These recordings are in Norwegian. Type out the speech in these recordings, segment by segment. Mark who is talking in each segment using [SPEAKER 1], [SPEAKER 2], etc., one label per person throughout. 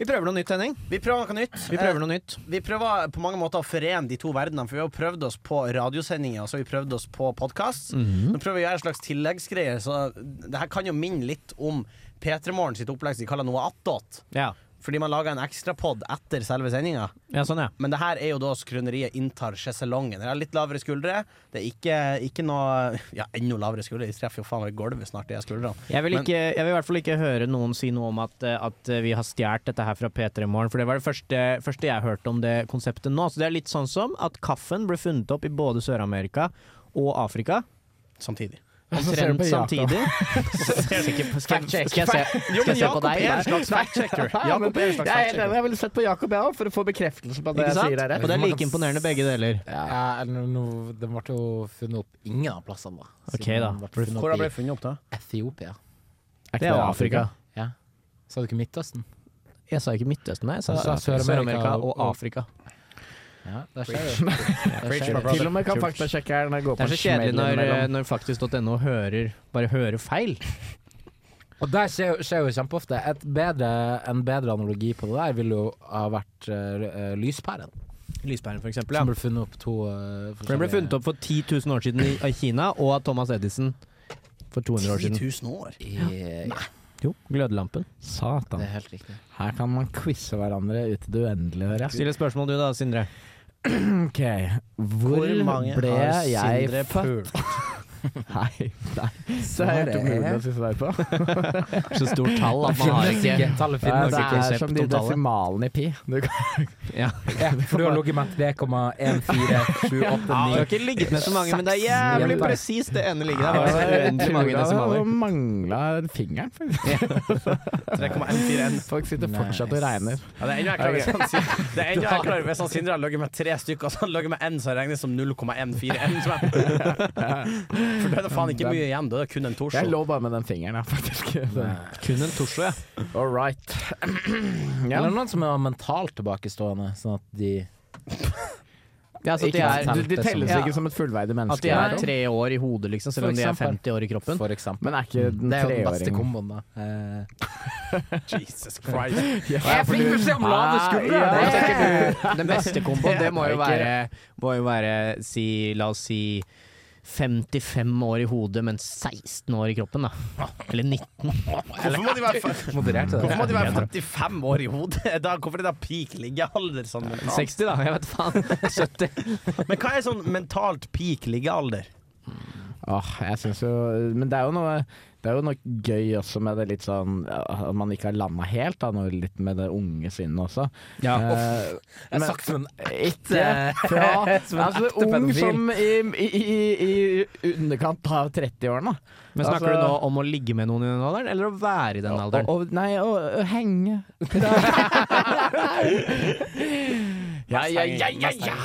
[SPEAKER 1] Vi prøver noe nytt, Henning.
[SPEAKER 2] Vi prøver noe nytt.
[SPEAKER 1] Vi prøver noe nytt.
[SPEAKER 2] Eh, vi prøver på mange måter å forene de to verdenene, for vi har jo prøvd oss på radiosendinger og så har vi prøvd oss på podkast.
[SPEAKER 1] Mhm.
[SPEAKER 2] Nå prøver vi å gjøre en slags tilleggsgreie, så det her kan jo minne litt om P3 Morgen sitt opplegg som de kaller noe attåt.
[SPEAKER 1] Ja.
[SPEAKER 2] Fordi man lager en ekstrapod etter selve sendinga.
[SPEAKER 1] ja, sånn, ja.
[SPEAKER 2] Men det her er jo da skrøneriet inntar sjeselongen. Det er litt lavere skuldre. Det er ikke, ikke noe Ja, enda lavere skuldre. De treffer jo faen meg gulvet snart, de her skuldrene.
[SPEAKER 1] Jeg vil,
[SPEAKER 2] Men-
[SPEAKER 1] ikke, jeg vil i hvert fall ikke høre noen si noe om at, eh, at vi har stjålet dette her fra P3 Morgen, for det var det første, første jeg hørte om det konseptet nå. Så det er litt sånn som at kaffen ble funnet opp i både Sør-Amerika og Afrika
[SPEAKER 2] Samtidig.
[SPEAKER 3] Og så ser
[SPEAKER 1] omtrent
[SPEAKER 3] du på Jakob.
[SPEAKER 1] samtidig. Skal jeg- skal
[SPEAKER 3] Fact check.
[SPEAKER 1] jeg- skal jeg se-
[SPEAKER 2] Jo,
[SPEAKER 1] skal
[SPEAKER 2] men
[SPEAKER 1] jeg se på
[SPEAKER 2] Jakob
[SPEAKER 1] deg?
[SPEAKER 2] er en
[SPEAKER 1] der?
[SPEAKER 2] slags fact-checker.
[SPEAKER 3] Nei, men
[SPEAKER 2] Jakob er en slags
[SPEAKER 3] jeg er helt enig.
[SPEAKER 2] fact-checker.
[SPEAKER 3] Jeg ville sett på Jakob, jeg òg, for å få bekreftelse på
[SPEAKER 1] Ikke
[SPEAKER 3] at det jeg sier er
[SPEAKER 1] sant?
[SPEAKER 3] rett.
[SPEAKER 1] Og det er like imponerende begge deler.
[SPEAKER 3] Ja, eller noe, den ble jo funnet opp ingen av plassene, da.
[SPEAKER 1] Ok,
[SPEAKER 3] Siden
[SPEAKER 1] da.
[SPEAKER 3] den ble funnet
[SPEAKER 2] Hvor har
[SPEAKER 3] opp
[SPEAKER 2] det funnet opp, da?
[SPEAKER 3] i Etiopia.
[SPEAKER 1] Det er jo Afrika.
[SPEAKER 3] Ja. Sa du ikke Midtøsten?
[SPEAKER 1] Jeg sa ikke Midtøsten, nei. Jeg sa
[SPEAKER 3] Du sa
[SPEAKER 1] Sør-Amerika
[SPEAKER 3] Sør-Amerika og-
[SPEAKER 1] og Afrika.
[SPEAKER 3] Ja, der ser du. Der
[SPEAKER 2] Preach,
[SPEAKER 3] ser
[SPEAKER 2] my
[SPEAKER 3] du.
[SPEAKER 2] brother.
[SPEAKER 3] Til og med kan faktasjekkeren gå på
[SPEAKER 1] Det er så kjedelig når, eh, når faktisk.no hører bare hører feil.
[SPEAKER 3] Og der skjer, jo- skjer jo kjempeofte. Et bedre, en bedre analogi på det der ville jo ha vært eh, eh, lyspæren.
[SPEAKER 1] Lyspæren, for eksempel. Ja.
[SPEAKER 3] Som ble funnet opp to eh,
[SPEAKER 1] For den ble funnet opp for 10 000 år siden i av Kina, og av Thomas Edison for 200 år
[SPEAKER 2] 10
[SPEAKER 1] siden.
[SPEAKER 2] 000 år?
[SPEAKER 3] i
[SPEAKER 1] Jo, glødelampen.
[SPEAKER 3] Det
[SPEAKER 1] Satan.
[SPEAKER 3] er helt riktig.
[SPEAKER 4] Her kan man quize hverandre ut i det uendelige, hører jeg.
[SPEAKER 1] Still et spørsmål du da, Sindre.
[SPEAKER 4] Ok, hvor, ble jeg født? Nei, nei. Så
[SPEAKER 3] Smart
[SPEAKER 4] er det umulig å si svar på.
[SPEAKER 1] Så stort tall at man har ikke
[SPEAKER 3] Tallet
[SPEAKER 4] Nei,
[SPEAKER 3] finnes
[SPEAKER 4] det
[SPEAKER 1] ikke
[SPEAKER 4] er
[SPEAKER 1] konsept
[SPEAKER 4] som de
[SPEAKER 1] om tallet.
[SPEAKER 4] desimalene i pi. Du kan,
[SPEAKER 1] ja.
[SPEAKER 3] Ja, for du har ligget med 3,14789
[SPEAKER 1] Du har ikke ligget med så mange, men det er jævlig
[SPEAKER 3] Seks.
[SPEAKER 1] presist det ene ligger der. Det var så uendelig mange desimaler.
[SPEAKER 4] Jeg mangla fingeren. faktisk.
[SPEAKER 2] 3,141.
[SPEAKER 4] Folk sitter
[SPEAKER 3] Nice.
[SPEAKER 4] fortsatt og regner.
[SPEAKER 2] Ja, det er enda jeg klarer hvis han sier- det er enda jeg klarer hvis han Sindre har ligget med tre stykker, og så har han ligget med én som regnes som 0,141. tror jeg. For da er det faen ikke mye igjen, da er det kun en torso.
[SPEAKER 4] Jeg lå bare med den fingeren, ja, faktisk.
[SPEAKER 1] Kun en torso, ja.
[SPEAKER 4] All right. Ja.
[SPEAKER 3] Eller noen som er mentalt tilbakestående, sånn at de
[SPEAKER 1] ja så at, de
[SPEAKER 3] Ikke
[SPEAKER 1] er,
[SPEAKER 3] sant.
[SPEAKER 4] De, de telles
[SPEAKER 1] Ja.
[SPEAKER 4] ikke som et fullverdig
[SPEAKER 1] sånn. at
[SPEAKER 4] menneske.
[SPEAKER 1] de er
[SPEAKER 4] Nei.
[SPEAKER 1] tre år i hodet, liksom, selv
[SPEAKER 3] For
[SPEAKER 1] om de er
[SPEAKER 3] eksempel.
[SPEAKER 1] 50 år i kroppen.
[SPEAKER 3] For eksempel.
[SPEAKER 4] Men er ikke den
[SPEAKER 3] Det er jo den beste
[SPEAKER 4] treåringen
[SPEAKER 3] komboen, da. Eh,
[SPEAKER 2] Jesus Christ.
[SPEAKER 3] Jeg fikk beskjed om lave skuldre!
[SPEAKER 4] Ah,
[SPEAKER 1] Hva
[SPEAKER 4] ja.
[SPEAKER 3] Det-
[SPEAKER 1] tenker du? Den beste komboen, det må jo
[SPEAKER 4] Det
[SPEAKER 1] være,
[SPEAKER 4] er
[SPEAKER 1] må jo være si, La oss si 55 år i hodet, men 16 år i kroppen, da. Eller 19.
[SPEAKER 2] Hvorfor må de være født?
[SPEAKER 3] Modererte det.
[SPEAKER 2] Hvorfor må de være 55 år i hodet? Da, hvorfor er det da peak liggealder? Sånn mentalt?
[SPEAKER 1] 60, da. Jeg vet faen. 70.
[SPEAKER 2] Men hva er sånn mentalt peak liggealder?
[SPEAKER 4] Åh, jeg synes jo Men det er jo noe det er jo noe gøy også med det litt sånn øh, At man ikke har landa helt, da, noe litt med det unge sinnet også.
[SPEAKER 1] Ja.
[SPEAKER 4] Eh,
[SPEAKER 3] Jeg
[SPEAKER 4] men-
[SPEAKER 3] sagt som en
[SPEAKER 4] Ikke fra
[SPEAKER 3] Som en
[SPEAKER 4] Altså
[SPEAKER 3] ekte
[SPEAKER 4] ung
[SPEAKER 3] pedofil.
[SPEAKER 4] som i, i, i, i underkant av 30-årene.
[SPEAKER 1] Men snakker
[SPEAKER 4] Altså-
[SPEAKER 1] du nå om å ligge med noen i den alderen, eller å være i den alderen?
[SPEAKER 4] Og, og, nei, og, og henge. ja, ja, ja, ja, ja.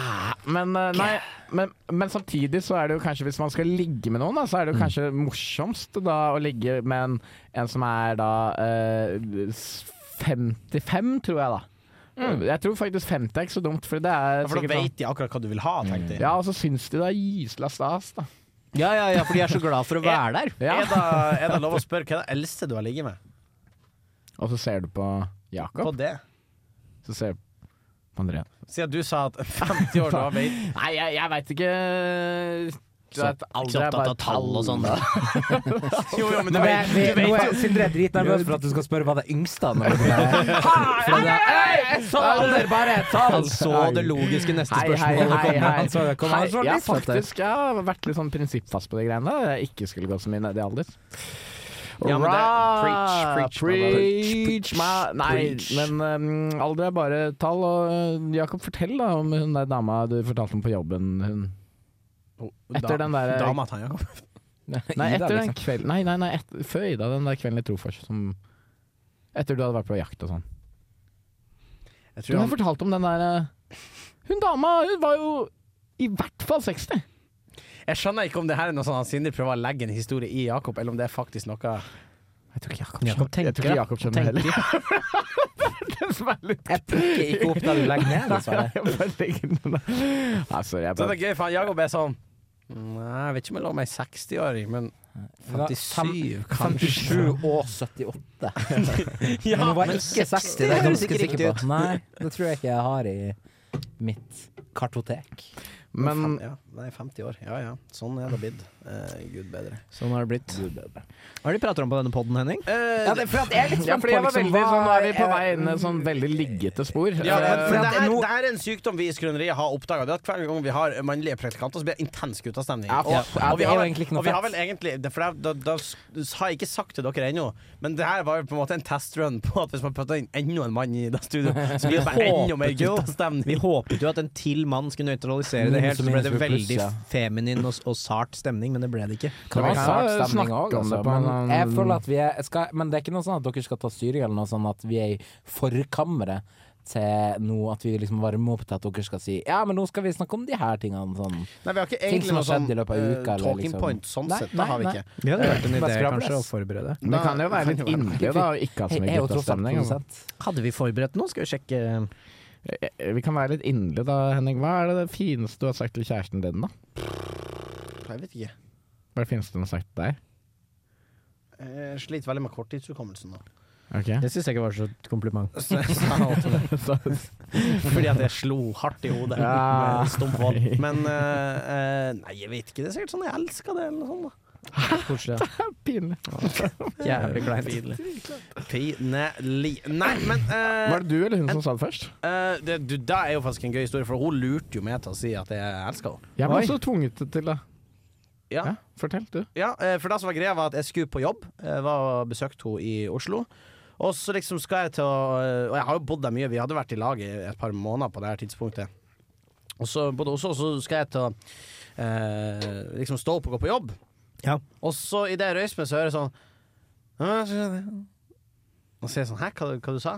[SPEAKER 4] Men, eh, nei, men, men samtidig så er det jo kanskje Hvis man skal ligge med noen, da, så er det jo kanskje morsomst da, å ligge med en, en som er da eh, s- 55, tror jeg, da. Jeg tror faktisk 50 er ikke så dumt, for det er
[SPEAKER 2] For da
[SPEAKER 4] sikkert sånn
[SPEAKER 2] vet de akkurat hva du vil ha,
[SPEAKER 1] Mm.
[SPEAKER 2] tenkte jeg.
[SPEAKER 4] Ja, og så syns de det er gysla stas, da.
[SPEAKER 1] Ja, ja, ja, for de er så glad for å være der.
[SPEAKER 4] Ja.
[SPEAKER 2] Er, det, er det lov å spørre hva er det eldste du har ligget med?
[SPEAKER 4] Og så ser du på
[SPEAKER 2] På
[SPEAKER 4] Jakob,
[SPEAKER 2] det?
[SPEAKER 4] så ser du på André.
[SPEAKER 2] Siden du sa at 50 år da vet
[SPEAKER 4] Nei, jeg, jeg veit ikke
[SPEAKER 1] Så,
[SPEAKER 4] Du vet,
[SPEAKER 1] ikke
[SPEAKER 4] alder
[SPEAKER 1] så
[SPEAKER 4] er
[SPEAKER 1] opptatt
[SPEAKER 4] bare
[SPEAKER 1] av tall og sånn.
[SPEAKER 2] Jo, jo, men du
[SPEAKER 3] Nå er
[SPEAKER 2] vet, du
[SPEAKER 3] vi-
[SPEAKER 2] vet
[SPEAKER 3] nå
[SPEAKER 2] jo
[SPEAKER 3] er Sindre er dritnervøs for at du skal spørre hva det yngste han er. For det er Alder, bare et tall!
[SPEAKER 1] Han så det logiske neste
[SPEAKER 4] Hei, hei,
[SPEAKER 1] spørsmålet
[SPEAKER 4] hei,
[SPEAKER 1] komme.
[SPEAKER 4] hei.
[SPEAKER 3] Han så det komme. Han så
[SPEAKER 4] jeg har
[SPEAKER 3] litt at det-
[SPEAKER 4] faktisk jeg har vært litt sånn prinsippfast på de greiene. der. Jeg ikke skulle gå så mye ned i alder.
[SPEAKER 2] Ja, men det-
[SPEAKER 4] Alright.
[SPEAKER 2] preach, preach,
[SPEAKER 4] preach, ma- Nei,
[SPEAKER 2] preach.
[SPEAKER 4] men um, alder er bare tall. Og uh, Jakob, fortell da om hun der dama du fortalte om på jobben. Hun. Etter den der-
[SPEAKER 2] Oh, Dama til han Jakob.
[SPEAKER 4] Nei,
[SPEAKER 3] Ida,
[SPEAKER 4] etter den
[SPEAKER 3] liksom.
[SPEAKER 4] kvelden Nei, nei, nei etter, før Ida, den der kvelden i Trofors. Som, etter du hadde vært på jakt og sånn.
[SPEAKER 2] Jeg
[SPEAKER 4] Du
[SPEAKER 2] tror
[SPEAKER 4] har
[SPEAKER 2] han
[SPEAKER 4] fortalt om den der eh, Hun dama, hun var jo i hvert fall 60.
[SPEAKER 2] Jeg skjønner ikke om det her er noe sånn at Sindre prøver å legge en historie i Jakob, eller om det er faktisk noe
[SPEAKER 4] Jeg tror ikke Jakob
[SPEAKER 1] Jakob
[SPEAKER 4] skjønner- jeg tror ikke
[SPEAKER 1] tenker,
[SPEAKER 4] Jakob skjønner det heller.
[SPEAKER 3] Jeg pikker ikke opp der du legger ned, dessverre.
[SPEAKER 4] Jeg bare legger den der. Nei, sorry, jeg
[SPEAKER 2] Så
[SPEAKER 4] bare
[SPEAKER 2] det er gøy, for han Jakob er sånn Nei, jeg vet ikke om jeg lå med ei 60-åring, men 57, kanskje.
[SPEAKER 3] 57 og 78.
[SPEAKER 2] Ja,
[SPEAKER 3] men det var
[SPEAKER 2] men det
[SPEAKER 3] ikke 60, det er jeg
[SPEAKER 2] høres
[SPEAKER 3] ganske
[SPEAKER 2] ikke
[SPEAKER 3] sikker
[SPEAKER 2] riktig
[SPEAKER 3] på. Nei, det tror jeg ikke jeg har i mitt kartotek.
[SPEAKER 4] Men
[SPEAKER 2] Fem- ja, Nei, 50 år. Ja ja. Sånn er det blitt. Eh, Gud bedre.
[SPEAKER 1] Sånn har det blitt. Hva er det de prater om på denne podden, Henning?
[SPEAKER 2] Eh,
[SPEAKER 3] Ja, det, for at jeg er litt
[SPEAKER 4] ja,
[SPEAKER 3] spent
[SPEAKER 4] fordi
[SPEAKER 3] på
[SPEAKER 4] jeg var
[SPEAKER 3] liksom
[SPEAKER 4] veldig, sånn, Nå er vi på
[SPEAKER 3] hva-
[SPEAKER 4] vei inn i et sånn veldig liggete spor.
[SPEAKER 2] Ja, men,
[SPEAKER 4] Eh,
[SPEAKER 2] men
[SPEAKER 3] for
[SPEAKER 2] det,
[SPEAKER 3] at
[SPEAKER 2] her,
[SPEAKER 3] nå-
[SPEAKER 2] det her er en sykdom vi i Skrøneriet har oppdaga. Hver gang vi har mannlige praktikanter, så blir det intens guttastemning.
[SPEAKER 4] Ja,
[SPEAKER 2] Og,
[SPEAKER 3] ja,
[SPEAKER 2] og,
[SPEAKER 3] det
[SPEAKER 2] vi
[SPEAKER 3] er
[SPEAKER 2] har
[SPEAKER 3] jo
[SPEAKER 2] vel-
[SPEAKER 3] egentlig ikke noe
[SPEAKER 2] og vi har
[SPEAKER 3] fett.
[SPEAKER 2] vel egentlig det- For da, da, da s- har jeg ikke sagt til dere ennå, men det her var jo på en måte en testrun på at hvis man putter inn enda en mann i det studioet, så blir det bare enda mer
[SPEAKER 1] Håpet jo- Vi
[SPEAKER 2] guttastemning.
[SPEAKER 1] håpet jo at en til mann skulle nøytralisere det helt, så ble det veldig feminin og, og sart stemning, men det ble det ikke.
[SPEAKER 4] Det var
[SPEAKER 3] Vi kan
[SPEAKER 4] sart
[SPEAKER 3] ha
[SPEAKER 4] stemning
[SPEAKER 3] snakket
[SPEAKER 4] også,
[SPEAKER 3] om det
[SPEAKER 4] altså,
[SPEAKER 3] på en-
[SPEAKER 4] men-
[SPEAKER 3] jeg føler at vi er skal, Men det er ikke noe sånn at dere skal ta styring eller noe sånn at vi er i forkammeret til noe at vi liksom varmer opp til at dere skal si Ja, men nå skal vi snakke om de her tingene sånn.
[SPEAKER 2] Nei, vi har ikke
[SPEAKER 3] Ting
[SPEAKER 2] egentlig
[SPEAKER 3] som
[SPEAKER 2] noe
[SPEAKER 3] har
[SPEAKER 2] sånn
[SPEAKER 3] skjedd i løpet av
[SPEAKER 2] eh,
[SPEAKER 3] uka, eller
[SPEAKER 2] talking
[SPEAKER 3] liksom.
[SPEAKER 2] point sånn
[SPEAKER 3] Nei,
[SPEAKER 2] sett. Det har vi
[SPEAKER 3] nei,
[SPEAKER 2] ikke.
[SPEAKER 1] Det hadde vært en
[SPEAKER 3] Bare
[SPEAKER 1] idé
[SPEAKER 3] skravles.
[SPEAKER 1] kanskje å forberede.
[SPEAKER 4] Det kan jo være
[SPEAKER 2] Det kan
[SPEAKER 4] litt
[SPEAKER 2] jo være.
[SPEAKER 4] inderlig da, å ikke ha så
[SPEAKER 3] Jeg
[SPEAKER 4] mye
[SPEAKER 3] er jo tross alt
[SPEAKER 4] guttastemning. altså.
[SPEAKER 3] produsent.
[SPEAKER 1] Hadde vi forberedt noe? Skal vi sjekke
[SPEAKER 4] Eh, Vi kan være litt inderlige da, Henning. Hva er det fineste du har sagt til kjæresten din, da?
[SPEAKER 2] Jeg vet ikke.
[SPEAKER 4] Hva er det fineste hun har sagt til deg?
[SPEAKER 2] Eh, Jeg sliter veldig med korttidshukommelsen nå.
[SPEAKER 4] Ok.
[SPEAKER 1] Det syns jeg ikke var så et kompliment.
[SPEAKER 2] Så- så- Fordi at jeg slo hardt i hodet
[SPEAKER 4] Ja.
[SPEAKER 2] med stump vold. Men eh, eh, nei, jeg vet ikke. Det er sikkert sånn jeg elsker det, eller noe sånt. da.
[SPEAKER 1] Koselig. ja.
[SPEAKER 4] Pinlig.
[SPEAKER 1] Jævlig kleint.
[SPEAKER 2] Pinlig. Nei, men eh,
[SPEAKER 4] Var det du eller hun som sa det først?
[SPEAKER 2] eh, det, du, det er jo faktisk en gøy historie, for hun lurte jo meg til å si at jeg elsker henne.
[SPEAKER 4] Jeg ble
[SPEAKER 1] Oi.
[SPEAKER 4] også tvunget til det.
[SPEAKER 2] Ja,
[SPEAKER 4] Ja, fortell, du.
[SPEAKER 2] ja eh, for det som var greia, var at jeg skulle på jobb. Jeg var og besøkte henne i Oslo. Og så liksom skal jeg til å eh, Og jeg har jo bodd der mye, vi hadde vært i lag i et par måneder på det her tidspunktet. Og så bodde hun også, og så skal jeg til å eh, liksom stå opp og gå på jobb.
[SPEAKER 1] Ja.
[SPEAKER 2] Og så i det jeg røyser meg, så hører jeg sånn «Ja, så skjønner jeg». Og så sier jeg sånn Hæ, hva, hva du sa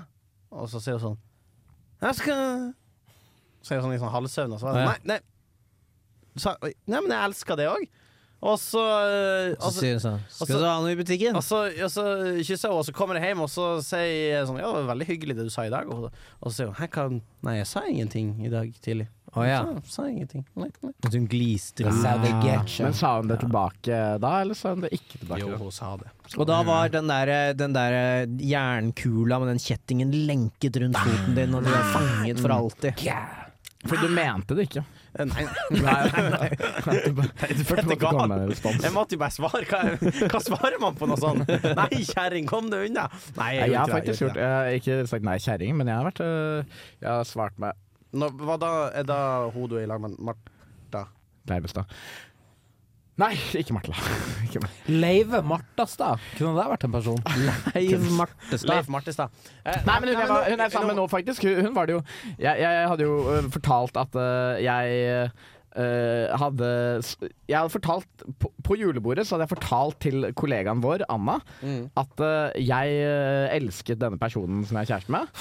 [SPEAKER 2] Og så sier hun sånn Jeg skal Så er jeg sånn i sånn halvsøvn, og så var jeg sånn Nei, nei. Så, oi, nei, men jeg elsker det òg. Og så eh,
[SPEAKER 1] Så
[SPEAKER 2] og så-
[SPEAKER 1] sier hun sånn Skal du ha noe i butikken?
[SPEAKER 2] og så, og så kysser jeg henne, og så kommer jeg hjem og så sier jeg sånn Ja, det var veldig hyggelig det du sa i dag. Og, og så sier hun Hæ, hva Nei, jeg sa ingenting i dag tidlig.
[SPEAKER 1] Å ja.
[SPEAKER 2] Jeg sa, sa ingenting. Nei, nei.
[SPEAKER 1] At hun gliste.
[SPEAKER 3] Det sa
[SPEAKER 4] Mm.
[SPEAKER 3] det ikke.
[SPEAKER 4] Men sa hun det tilbake da, eller sa hun det ikke tilbake?
[SPEAKER 2] Jo,
[SPEAKER 4] da?
[SPEAKER 2] hun sa det.
[SPEAKER 1] altså, Og da var den der, eh, den der jernkula med den kjettingen lenket rundt foten din, og du var fanget for alltid.
[SPEAKER 4] For du mente det ikke.
[SPEAKER 2] Eh, Nei,
[SPEAKER 4] Nei, nei, Først måtte
[SPEAKER 2] gal.
[SPEAKER 4] komme med en respons.
[SPEAKER 2] Jeg måtte jo bare svare. Hva, hva svarer man på noe sånt? Nei, kjerring, kom deg unna! Nei, gjorde
[SPEAKER 4] Jeg, har
[SPEAKER 2] ikke det,
[SPEAKER 4] faktisk
[SPEAKER 2] jeg gjorde
[SPEAKER 4] gjort, jeg har ikke sagt nei kjerring, men jeg har vært øh, Jeg har svart med
[SPEAKER 2] ikke det. Nå, Hva da? Er da hun du er i lag med Martha?
[SPEAKER 4] Leivestad. Nei, ikke Martla. Ikke Martla.
[SPEAKER 3] Leive Martastad, kunne det vært en person?
[SPEAKER 1] Leiv Martestad.
[SPEAKER 2] Leif Martestad. Eh,
[SPEAKER 4] Nei, men hun, jeg var, hun er sammen
[SPEAKER 2] nå-
[SPEAKER 4] nå, faktisk. Hun, hun var det jo Jeg, jeg hadde jo øh, fortalt at øh, jeg øh, hadde s- Jeg hadde fortalt på, på julebordet så hadde jeg fortalt til kollegaen vår, Anna,
[SPEAKER 2] Mm.
[SPEAKER 4] at øh, jeg øh, elsket denne personen som jeg er kjæreste med.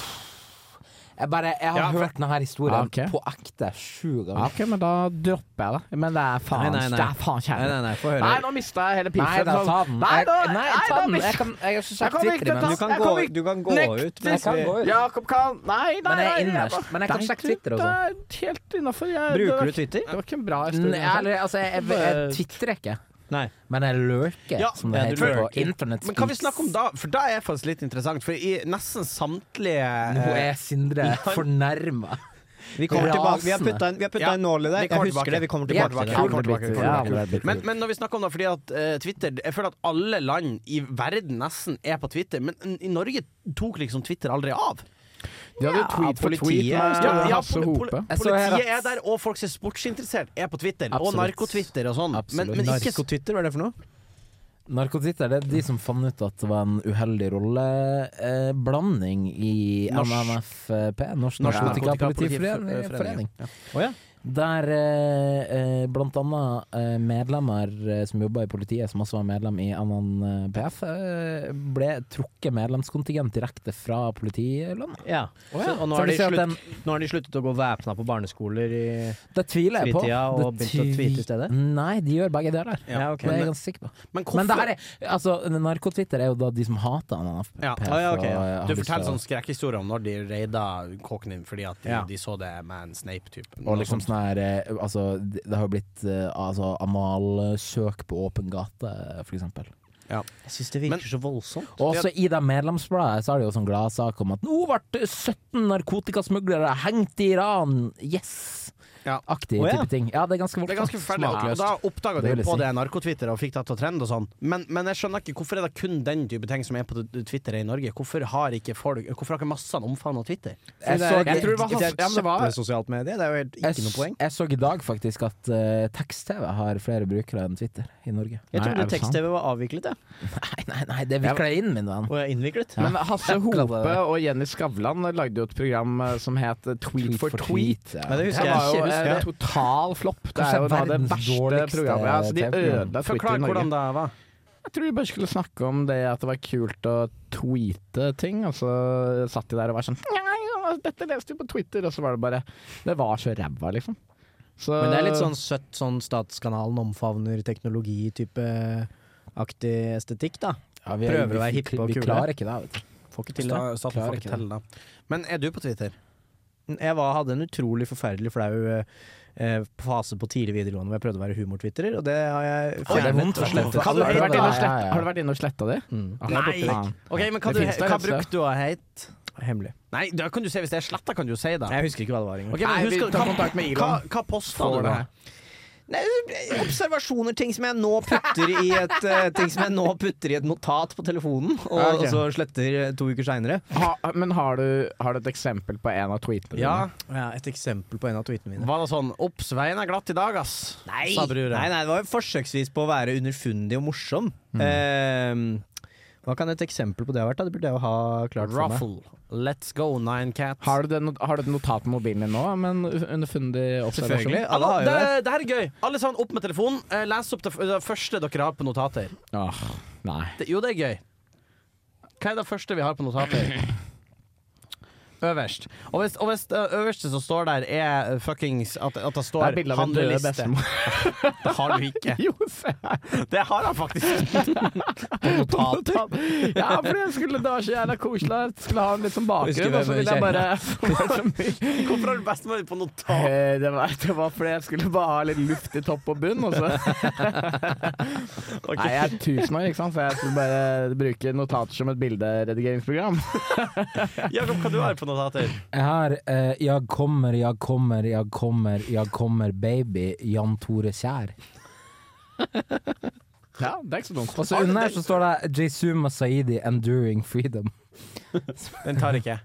[SPEAKER 3] Jeg bare, jeg har
[SPEAKER 2] Ja, for-
[SPEAKER 3] hørt denne her
[SPEAKER 4] Ja,
[SPEAKER 3] historien
[SPEAKER 4] ok.
[SPEAKER 3] på ekte sju
[SPEAKER 4] Ja,
[SPEAKER 3] ganger.
[SPEAKER 4] ok, men da dropper jeg det. Men det er
[SPEAKER 1] Nei,
[SPEAKER 4] faen,
[SPEAKER 1] nei, nei.
[SPEAKER 4] Det er faen
[SPEAKER 1] Nei,
[SPEAKER 4] kjærlighet.
[SPEAKER 1] nei, nei, få høre.
[SPEAKER 4] Nei, nå mista jeg hele piffen.
[SPEAKER 3] Nei da, ta den.
[SPEAKER 4] Nei, da,
[SPEAKER 3] Jeg- nei, ta den. Jeg kan- jeg har ikke sagt
[SPEAKER 4] Jeg kan
[SPEAKER 3] Twitter
[SPEAKER 4] ikke ta-
[SPEAKER 1] Du
[SPEAKER 3] imens.
[SPEAKER 1] kan
[SPEAKER 4] jeg
[SPEAKER 1] gå,
[SPEAKER 4] kan ikke-
[SPEAKER 1] du kan gå
[SPEAKER 4] Nekter.
[SPEAKER 1] ut. men
[SPEAKER 3] Jeg kan
[SPEAKER 1] vi-
[SPEAKER 3] gå ut.
[SPEAKER 4] Jakob kan Nei, nei,
[SPEAKER 3] Men jeg er
[SPEAKER 4] nei,
[SPEAKER 3] innerst.
[SPEAKER 4] bare-
[SPEAKER 3] Men jeg kan
[SPEAKER 4] Nei,
[SPEAKER 3] sjekke Twitter og
[SPEAKER 4] Det
[SPEAKER 3] sånn.
[SPEAKER 4] er helt innafor.
[SPEAKER 1] Bruker du Twitter?
[SPEAKER 4] Det var ikke en bra
[SPEAKER 3] N-
[SPEAKER 4] historie.
[SPEAKER 3] Jeg, altså, jeg, jeg, jeg twitrer ikke,
[SPEAKER 1] Nei.
[SPEAKER 3] men jeg lurker,
[SPEAKER 2] Ja,
[SPEAKER 3] som det
[SPEAKER 1] ja, du
[SPEAKER 3] heter på
[SPEAKER 1] lurker.
[SPEAKER 3] internett.
[SPEAKER 2] Men kan vi snakke om da? For da er faktisk litt interessant, for i nesten samtlige
[SPEAKER 3] Nå
[SPEAKER 2] eh,
[SPEAKER 3] er Sindre fornærma.
[SPEAKER 1] Vi kommer
[SPEAKER 3] Ja.
[SPEAKER 1] tilbake. Vi har putta en, sånn vi har puttet
[SPEAKER 2] Ja.
[SPEAKER 1] en nål i der.
[SPEAKER 2] Vi
[SPEAKER 1] Jeg
[SPEAKER 2] kommer
[SPEAKER 1] husker
[SPEAKER 2] tilbake.
[SPEAKER 1] det. Vi kommer
[SPEAKER 3] Ja,
[SPEAKER 1] tilbake til det.
[SPEAKER 3] ja.
[SPEAKER 2] Jeg kommer tilbake, jeg
[SPEAKER 4] altså. Ja,
[SPEAKER 2] kommer tilbake.
[SPEAKER 4] det er blitt-
[SPEAKER 2] Men, men når vi snakker om det, fordi at eh, Twitter Jeg føler at alle land i verden nesten er på Twitter, men n- i Norge tok liksom Twitter aldri av.
[SPEAKER 4] De hadde jo tweet for
[SPEAKER 1] politiet
[SPEAKER 4] tweet med
[SPEAKER 1] skal-
[SPEAKER 4] Hasse
[SPEAKER 2] poli- poli-
[SPEAKER 4] Hope.
[SPEAKER 3] Jeg så her
[SPEAKER 2] Politiet er
[SPEAKER 3] at-
[SPEAKER 2] der, og folk som er sportsinteressert, er på Twitter. Og
[SPEAKER 4] Absolutt.
[SPEAKER 2] narkotwitter og sånn. Men,
[SPEAKER 3] Absolutt.
[SPEAKER 2] men ikke s-
[SPEAKER 1] Narkotwitter, hva er det for noe?
[SPEAKER 3] Narkotwitter det er de som fant ut at det var en uheldig rolleblanding eh, blanding i
[SPEAKER 2] Norsk-
[SPEAKER 3] NMFP, Norsk
[SPEAKER 2] Norsk
[SPEAKER 3] Narkotikapolitiforening.
[SPEAKER 1] Å ja.
[SPEAKER 3] Der eh, eh, blant annet eh, medlemmer eh, som jobba i politiet, som også var medlem i NNPF, eh, ble trukket medlemskontingent direkte fra politilønna.
[SPEAKER 1] ja. Så, og nå
[SPEAKER 3] Så
[SPEAKER 1] har,
[SPEAKER 3] det
[SPEAKER 1] de
[SPEAKER 3] sier at
[SPEAKER 1] slutt, nå har de sluttet å gå væpna på barneskoler i
[SPEAKER 3] Det tviler jeg på.
[SPEAKER 1] Fritida og
[SPEAKER 3] Det
[SPEAKER 1] begynte å
[SPEAKER 3] tvi-
[SPEAKER 1] tweete i stedet?
[SPEAKER 3] Nei, de gjør begge deler.
[SPEAKER 2] Ja,
[SPEAKER 1] Ja, ok.
[SPEAKER 3] Det er jeg
[SPEAKER 2] Men,
[SPEAKER 3] ganske sikker på.
[SPEAKER 2] men
[SPEAKER 3] Men det her
[SPEAKER 2] hvorfor
[SPEAKER 3] er, altså, narkotwitter er jo da de som hater NNFP.
[SPEAKER 2] Ja.
[SPEAKER 1] Ah, ja, ok, ja.
[SPEAKER 3] og, eh, har
[SPEAKER 2] Du
[SPEAKER 3] lyst til
[SPEAKER 2] forteller
[SPEAKER 3] å-
[SPEAKER 2] sånn skrekkhistorier om når de raida kåken din fordi at de,
[SPEAKER 1] Ja.
[SPEAKER 2] de så det med en Snape-type.
[SPEAKER 3] Og liksom sånn sånn her eh, Altså, det det har jo blitt eh, altså, analsøk på åpen gate, eh, for eksempel.
[SPEAKER 1] Jeg syns det
[SPEAKER 2] virker
[SPEAKER 1] virker så voldsomt.
[SPEAKER 3] Og også i det medlemsbladet så er det jo sånn gladsak om at nå ble 17 narkotikasmuglere hengt i Iran! Yes!
[SPEAKER 2] Ja.
[SPEAKER 3] Aktig
[SPEAKER 1] Å, ja.
[SPEAKER 3] type ting. Ja, det er ganske
[SPEAKER 2] Det er ganske forferdelig. og- Og
[SPEAKER 3] smakløst.
[SPEAKER 2] da oppdaga
[SPEAKER 3] Det
[SPEAKER 2] de
[SPEAKER 3] vil jeg
[SPEAKER 2] på
[SPEAKER 3] si.
[SPEAKER 2] det narkotwitter og fikk det til å trende og sånn. Men, men jeg skjønner ikke hvorfor er det kun den type ting som er på Twitter i Norge? Hvorfor har ikke folk Hvorfor har ikke massene omfavna Twitter?
[SPEAKER 3] Jeg så-
[SPEAKER 4] jeg tror det var hans- ja, men det var-
[SPEAKER 1] sosialt medie, det er jo helt, ikke noe poeng.
[SPEAKER 3] Jeg, jeg så i dag faktisk at eh, tekst-TV har flere brukere enn Twitter i Norge.
[SPEAKER 1] Jeg
[SPEAKER 4] Nei, er
[SPEAKER 1] trodde
[SPEAKER 4] det
[SPEAKER 1] tekst-TV var avviklet, jeg.
[SPEAKER 3] Nei, nei, nei, det vikler jeg inn, min venn.
[SPEAKER 1] Og jeg er innviklet.
[SPEAKER 4] Men Hasse Hope
[SPEAKER 3] det.
[SPEAKER 4] og Jenny Skavlan lagde jo et program eh, som het Tweet for tweet.
[SPEAKER 1] Men det husker jeg
[SPEAKER 4] Det
[SPEAKER 3] Ja.
[SPEAKER 4] var jo
[SPEAKER 1] ikke.
[SPEAKER 4] en
[SPEAKER 1] Husker jeg.
[SPEAKER 4] total flopp. Det er jo
[SPEAKER 3] Kanskje
[SPEAKER 4] da det
[SPEAKER 3] verdens
[SPEAKER 4] verste
[SPEAKER 3] dårligste
[SPEAKER 4] programmet. Ja, så de
[SPEAKER 3] TV-program.
[SPEAKER 4] ødela Twitter i
[SPEAKER 2] Forklar hvordan
[SPEAKER 4] Norge.
[SPEAKER 2] det var.
[SPEAKER 4] Jeg tror vi bare skulle snakke om det at det var kult å tweete ting, og så satt de der og var sånn «Nei, ja, Dette leste vi på Twitter, og så var det bare Det var så ræva, liksom. Så,
[SPEAKER 1] Men det er litt sånn søtt sånn Statskanalen omfavner teknologi-type aktig estetikk, da.
[SPEAKER 3] Ja, vi,
[SPEAKER 1] Prøver å
[SPEAKER 3] vi-
[SPEAKER 1] være hippe og
[SPEAKER 3] Vi
[SPEAKER 1] kule.
[SPEAKER 3] klarer ikke det, vet du.
[SPEAKER 1] Får ikke til det.
[SPEAKER 2] Sta- staten
[SPEAKER 3] Klarer
[SPEAKER 2] får
[SPEAKER 3] ikke
[SPEAKER 2] ikke til det. Men er du på Twitter?
[SPEAKER 1] Jeg var, hadde en utrolig forferdelig flau eh, eh, fase på tidlig videregående hvor jeg prøvde å være humortwitter, og det har jeg
[SPEAKER 2] Oi, det er
[SPEAKER 1] fjernet
[SPEAKER 3] vondt å
[SPEAKER 1] og slettet.
[SPEAKER 3] slette.
[SPEAKER 4] Har du
[SPEAKER 3] Ja,
[SPEAKER 4] har du vært inne og
[SPEAKER 3] ja,
[SPEAKER 4] slett-
[SPEAKER 3] ja.
[SPEAKER 4] har du vært inne og sletta det?
[SPEAKER 1] Mm.
[SPEAKER 4] Ah, det er
[SPEAKER 2] Nei.
[SPEAKER 4] borte.
[SPEAKER 2] Ok, men Hva,
[SPEAKER 4] Det altså.
[SPEAKER 2] du,
[SPEAKER 4] finnes der,
[SPEAKER 2] hva
[SPEAKER 4] vet du.
[SPEAKER 2] brukte du å hete?
[SPEAKER 1] Hemmelig.
[SPEAKER 2] Nei, da kan du si hvis det er sletta, kan du jo si det.
[SPEAKER 1] Jeg husker ikke hva det var engang.
[SPEAKER 2] Ok, men
[SPEAKER 4] Nei, vi
[SPEAKER 2] husker-
[SPEAKER 4] tar
[SPEAKER 2] hva-
[SPEAKER 4] kontakt med Elon.
[SPEAKER 2] Hva, hva posta
[SPEAKER 4] Får
[SPEAKER 2] du
[SPEAKER 4] det
[SPEAKER 2] da?
[SPEAKER 4] her.
[SPEAKER 1] Nei, observasjoner, ting som jeg nå putter i et eh, Ting som jeg nå putter i et notat på telefonen, og,
[SPEAKER 4] Ja, ok.
[SPEAKER 1] og så sletter eh, to uker seinere.
[SPEAKER 4] Ha, men har du, har du et eksempel på en av tweetene
[SPEAKER 2] Ja,
[SPEAKER 4] dine?
[SPEAKER 1] Ja, et eksempel på en av tweetene mine.
[SPEAKER 2] var det sånn 'Ops, veien er glatt i dag, ass'?
[SPEAKER 1] Nei.
[SPEAKER 2] sa brura.
[SPEAKER 1] nei, nei, det var jo forsøksvis på å være underfundig og morsom. Eh, hva kan et eksempel på det ha vært? da? Det burde jeg jo ha klart for meg.
[SPEAKER 2] Ruffle. Let's go, nine cat.
[SPEAKER 4] Har du, det, not- har du et notat på mobilen din nå, men underfundig observasjon?
[SPEAKER 1] Selvfølgelig. Alle
[SPEAKER 2] Alle,
[SPEAKER 1] har jo
[SPEAKER 2] det,
[SPEAKER 1] det.
[SPEAKER 2] det her er gøy. Alle sammen opp med telefonen. Eh, Les opp det, f- det første dere har på notater.
[SPEAKER 4] Åh,
[SPEAKER 1] Ah.
[SPEAKER 4] nei.
[SPEAKER 2] Det, jo, det er gøy. Hva er det første vi har på notater? Øverst. Og hvis, og hvis det øverste som står der, er fuckings At, at det
[SPEAKER 4] Det
[SPEAKER 2] står
[SPEAKER 4] er bilde av en død
[SPEAKER 2] handleliste.
[SPEAKER 4] bestemor.
[SPEAKER 2] Det har du ikke.
[SPEAKER 4] Jo, se her.
[SPEAKER 2] Det har han faktisk.
[SPEAKER 1] Notater?
[SPEAKER 4] Ja, for jeg skulle da så jævla koselig Jeg skulle ha en litt
[SPEAKER 1] Husker
[SPEAKER 4] sånn bakgrunn, og så
[SPEAKER 1] hvem
[SPEAKER 4] ville
[SPEAKER 1] kjenner.
[SPEAKER 4] jeg bare Eh,
[SPEAKER 2] Hvorfor har du bestemor på notater?
[SPEAKER 4] det, var, det var fordi jeg skulle bare ha litt luft i topp og bunn, og så Nei, jeg er tusen år, ikke sant, så jeg skulle bare bruke notater som et bilderedigeringsprogram.
[SPEAKER 2] Jakob, hva du har på notater?
[SPEAKER 3] Jeg har eh, 'Jag kommer, jag kommer, jag kommer, jag kommer baby', Jan Tore Kjær.
[SPEAKER 4] Ja, det er ikke så dumt.
[SPEAKER 3] Og så under så står det 'Jaisuma Saidi Enduring Freedom'.
[SPEAKER 2] Den tar ikke jeg.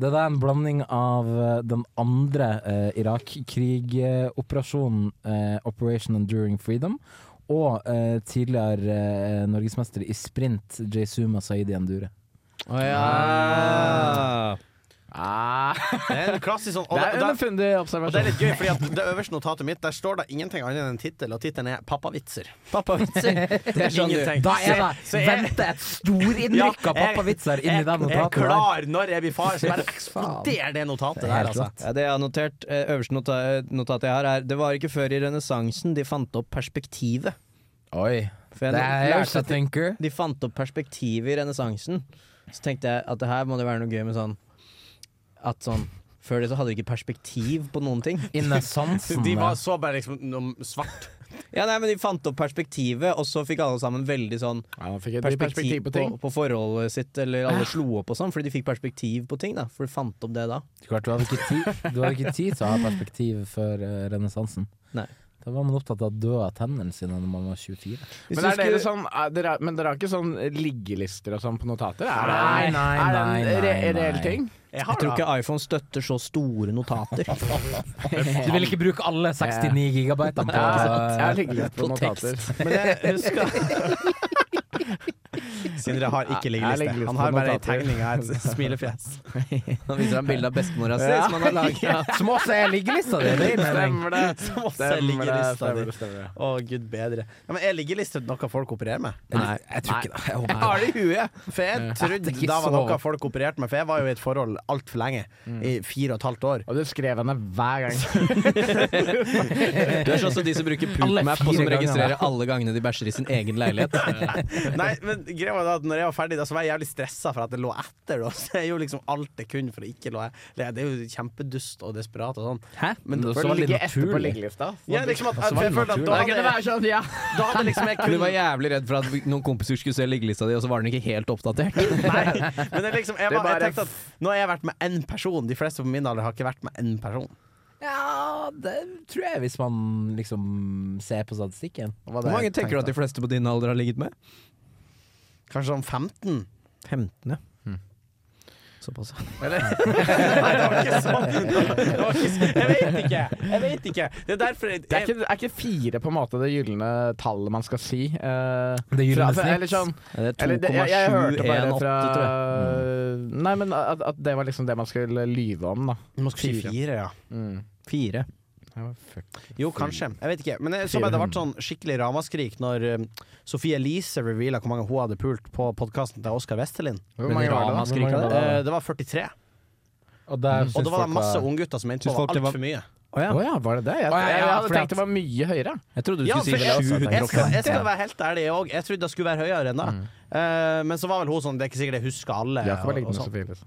[SPEAKER 3] Det der er en blanding av eh, den andre eh, Irak-krigoperasjonen, eh, Operation Enduring Freedom, og eh, tidligere eh, norgesmester i sprint, Jaisuma Saidi Endure.
[SPEAKER 1] Å ja.
[SPEAKER 4] Ah,
[SPEAKER 2] Det er en klassisk sånn og
[SPEAKER 4] det er
[SPEAKER 2] da-
[SPEAKER 4] underfundig
[SPEAKER 2] Og det er
[SPEAKER 4] observasjon.
[SPEAKER 2] litt gøy, fordi at det øverste notatet mitt Der står det ingenting annet enn en tittel, og tittelen er 'Pappavitser'. Pappavitser. Det
[SPEAKER 1] sånn
[SPEAKER 2] er ingenting.
[SPEAKER 3] Da er det
[SPEAKER 2] Så- så jeg-
[SPEAKER 3] vente et storinnrykk av pappavitser
[SPEAKER 2] jeg,
[SPEAKER 3] inni det
[SPEAKER 2] jeg er
[SPEAKER 3] notatet der.
[SPEAKER 2] klar når jeg blir far, så bare eksploderer det notatet
[SPEAKER 3] Det er
[SPEAKER 2] der,
[SPEAKER 3] helt
[SPEAKER 2] altså.
[SPEAKER 3] rått.
[SPEAKER 1] Ja, det jeg har notert, eh, øverste nota notatet jeg har, er Det var ikke før i renessansen de fant opp perspektivet.
[SPEAKER 3] Oi.
[SPEAKER 1] For jeg
[SPEAKER 3] Det er
[SPEAKER 1] lærte at de,
[SPEAKER 3] thinker.
[SPEAKER 1] de fant opp perspektivet i renessansen. Så tenkte jeg at det her må det være noe gøy med sånn At sånn Før det så hadde de ikke perspektiv på noen ting.
[SPEAKER 3] Inne sansen.
[SPEAKER 2] De var
[SPEAKER 3] ja.
[SPEAKER 2] så bare liksom noe svart.
[SPEAKER 1] Ja, nei, men de fant opp perspektivet, og så fikk alle sammen veldig sånn
[SPEAKER 4] Ja, da fikk jeg et
[SPEAKER 1] perspektiv på,
[SPEAKER 4] ting.
[SPEAKER 1] på, forholdet sitt, eller alle slo opp og sånn, fordi de fikk perspektiv på ting, da. For de fant opp det da.
[SPEAKER 3] Klart, du, hadde ikke tid, du hadde ikke tid til å ha perspektiv før uh, renessansen.
[SPEAKER 1] Nei.
[SPEAKER 3] Da var man opptatt av å dø av tennene sine når man var 24.
[SPEAKER 1] Hvis
[SPEAKER 4] Men,
[SPEAKER 1] du
[SPEAKER 4] er dere
[SPEAKER 1] skulle-
[SPEAKER 4] sånn, er dere, men dere har ikke sånn liggelister og sånn på notater? Er det,
[SPEAKER 3] Nei, nei,
[SPEAKER 4] er det en
[SPEAKER 3] nei,
[SPEAKER 4] re
[SPEAKER 3] nei,
[SPEAKER 4] reell
[SPEAKER 3] nei.
[SPEAKER 4] ting?
[SPEAKER 2] Jeg
[SPEAKER 1] Jeg tror ikke iPhone støtter så store notater.
[SPEAKER 3] Du vil ikke bruke alle 69 gigabytene på
[SPEAKER 4] Jeg har liggeliste på
[SPEAKER 1] på tekst.
[SPEAKER 4] notater.
[SPEAKER 2] Men jeg husker Sindre har ikke
[SPEAKER 4] Jeg legger
[SPEAKER 2] liggeliste.
[SPEAKER 4] liste
[SPEAKER 2] Han har
[SPEAKER 4] på
[SPEAKER 2] bare ei
[SPEAKER 4] notater.
[SPEAKER 2] tegning av et smilefjes.
[SPEAKER 1] Han viser ham bilde av bestemora si, som han har laga.
[SPEAKER 3] Små
[SPEAKER 4] Altså,
[SPEAKER 3] C-liggelista di! Det er min
[SPEAKER 4] Stemmer
[SPEAKER 3] mening.
[SPEAKER 4] sånn det.
[SPEAKER 2] Som også er
[SPEAKER 4] Stemmer det,
[SPEAKER 2] liggelista
[SPEAKER 4] stemmer
[SPEAKER 2] di.
[SPEAKER 4] det, stemmer det.
[SPEAKER 2] Å, gud bedre. Ja, men er liggeliste noe folk opererer med?
[SPEAKER 3] Nei, jeg tror ikke det. Jeg
[SPEAKER 2] Jeg
[SPEAKER 3] håper
[SPEAKER 2] har det i huet, for jeg trodde
[SPEAKER 3] Det er ikke
[SPEAKER 2] da var
[SPEAKER 3] så-
[SPEAKER 2] noe folk opererte med, for jeg var jo i et forhold altfor lenge. I fire og et halvt år.
[SPEAKER 4] Og du skrev henne hver gang.
[SPEAKER 1] Du er sånn som de som bruker
[SPEAKER 3] Alle
[SPEAKER 1] Poopmap, og som
[SPEAKER 3] fire gangene.
[SPEAKER 1] registrerer alle gangene de bæsjer i sin egen leilighet.
[SPEAKER 2] Nei, men greia var var det at når jeg var ferdig, da, så var jeg jævlig stressa for at det lå etter. Da. Så jeg gjorde liksom alt jeg kunne for å ikke lå Det er jo kjempedust og desperat og sånn.
[SPEAKER 1] Hæ?
[SPEAKER 2] Men
[SPEAKER 3] Men
[SPEAKER 2] da-
[SPEAKER 3] det var litt naturlig.
[SPEAKER 4] liggelista.
[SPEAKER 2] ja, liksom at, at, for jeg følte at da
[SPEAKER 4] Da kunne det
[SPEAKER 2] hadde,
[SPEAKER 4] være sånn, ja.
[SPEAKER 2] da hadde liksom jeg
[SPEAKER 1] Du
[SPEAKER 2] kun
[SPEAKER 1] var jævlig redd for at noen kompiser skulle se liggelista di, og så var den ikke helt oppdatert.
[SPEAKER 2] Nei, men det er liksom, jeg, var-
[SPEAKER 4] Det er
[SPEAKER 2] jeg
[SPEAKER 4] bare-
[SPEAKER 2] tenkte at nå har jeg vært med én person. De fleste på min alder har ikke vært med én person.
[SPEAKER 3] Ja, det tror jeg, hvis man liksom ser på statistikken.
[SPEAKER 1] Hvor mange tenker du at de fleste på din alder har ligget med?
[SPEAKER 2] Kanskje sånn 15?
[SPEAKER 1] 15, ja. Såpass.
[SPEAKER 2] Eller? Nei, det var ikke sånn. Det var ikke sånn. Jeg vet ikke. Jeg vet ikke. Det er derfor jeg,
[SPEAKER 4] Det er ikke, er ikke fire på en måte det gylne tallet man skal si. eh,
[SPEAKER 3] Det
[SPEAKER 4] fra-
[SPEAKER 3] gylne snitt?
[SPEAKER 4] Eller sånn
[SPEAKER 1] Det er
[SPEAKER 4] eller det- jeg- jeg hørte bare
[SPEAKER 1] 2,718,
[SPEAKER 4] fra- Mm.
[SPEAKER 1] tror jeg.
[SPEAKER 4] Nei, men at, at det var liksom det man skulle lyve om, da.
[SPEAKER 2] Man skulle si
[SPEAKER 4] Fire.
[SPEAKER 2] fire, ja.
[SPEAKER 4] Mm.
[SPEAKER 1] Fire.
[SPEAKER 2] Jo, kanskje. Jeg vet ikke. Men jeg så bare det ble sånn skikkelig ramaskrik når um, Sofie Elise reveala hvor mange hun hadde pult på podkasten til Oskar Westerlin.
[SPEAKER 4] Hvor
[SPEAKER 1] Men
[SPEAKER 4] mange var det?
[SPEAKER 1] Rama
[SPEAKER 4] da?
[SPEAKER 1] skriker
[SPEAKER 3] Hvor mange
[SPEAKER 1] det.
[SPEAKER 3] var
[SPEAKER 2] Eh, det var 43.
[SPEAKER 3] Og, der
[SPEAKER 2] Mm. Og da var det masse unggutter som mente
[SPEAKER 1] Syns
[SPEAKER 2] det var
[SPEAKER 1] folk det var-
[SPEAKER 2] altfor mye.
[SPEAKER 1] Å ja.
[SPEAKER 4] Å ja, var det det? Jeg,
[SPEAKER 3] Å ja,
[SPEAKER 4] jeg,
[SPEAKER 3] ja,
[SPEAKER 4] hadde
[SPEAKER 3] fordi
[SPEAKER 4] tenkt det var mye høyere.
[SPEAKER 1] Jeg trodde du
[SPEAKER 2] Ja, for
[SPEAKER 1] skulle
[SPEAKER 2] jeg,
[SPEAKER 1] si altså,
[SPEAKER 2] jeg, jeg, skal,
[SPEAKER 1] 750.
[SPEAKER 2] jeg skal være helt ærlig, jeg òg. Jeg trodde det skulle være høyere enn det.
[SPEAKER 1] Mm.
[SPEAKER 2] Eh, men så var vel hun sånn Det er ikke sikkert jeg husker alle.
[SPEAKER 4] Jakob har
[SPEAKER 2] og-
[SPEAKER 4] ligget
[SPEAKER 2] og
[SPEAKER 4] med
[SPEAKER 2] sånn.
[SPEAKER 4] Sofie Elise.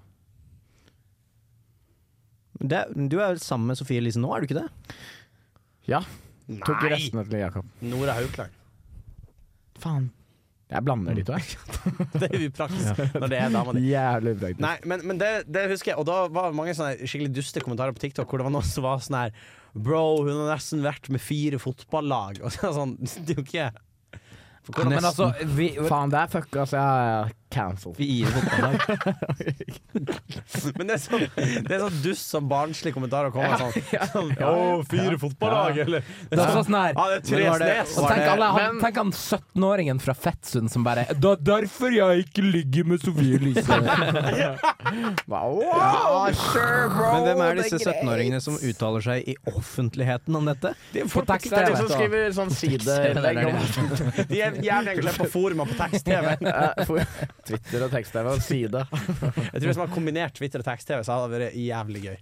[SPEAKER 1] Det, du er vel sammen med Sofie Elise nå, er du ikke det?
[SPEAKER 4] Ja. Tok
[SPEAKER 2] Nei!
[SPEAKER 4] restene til Jakob.
[SPEAKER 2] Nora Haukland.
[SPEAKER 4] Faen. Jeg blander de to, jeg.
[SPEAKER 2] Det er upraktisk når det er dama di.
[SPEAKER 4] Jævlig ubraktisk.
[SPEAKER 2] Nei, men, men det, det husker jeg. Og da var det mange sånne skikkelig duste kommentarer på TikTok hvor det var noen som var sånn her Bro, hun har nesten vært med fire fotballag. Og så er det sånn, det er jo ikke
[SPEAKER 1] hvordan-
[SPEAKER 3] Men altså, vi,
[SPEAKER 4] Faen, det er fucka, så jeg er cancelled.
[SPEAKER 1] Fire fotballag.
[SPEAKER 2] Men det er sånn, det er sånn dust som barnslig kommentar å komme med sånn. sånn Å, fire fotballag, eller?
[SPEAKER 3] det er sånn her
[SPEAKER 2] Ja, det er tre
[SPEAKER 1] Men var det-
[SPEAKER 2] snes.
[SPEAKER 3] Og
[SPEAKER 2] var
[SPEAKER 3] tenk,
[SPEAKER 2] det-
[SPEAKER 3] alle, han,
[SPEAKER 4] men-
[SPEAKER 3] tenk han 17-åringen fra Fettsund som bare Det er derfor jeg ikke ligger med Sofie Elise.
[SPEAKER 4] Wow,
[SPEAKER 1] Men hvem er disse 17-åringene som uttaler seg i offentligheten om dette?
[SPEAKER 2] Det er
[SPEAKER 3] På
[SPEAKER 2] folk-
[SPEAKER 4] Det er de
[SPEAKER 3] tekst-TV.
[SPEAKER 4] som skriver sånn sideinnlegg om
[SPEAKER 2] De er jævlig engasjert på foruma på tekst-TV.
[SPEAKER 4] Eh, for- Twitter og tekst-TV og side.
[SPEAKER 2] Jeg tror Hvis man har kombinert Twitter og tekst-TV, så hadde det vært jævlig gøy.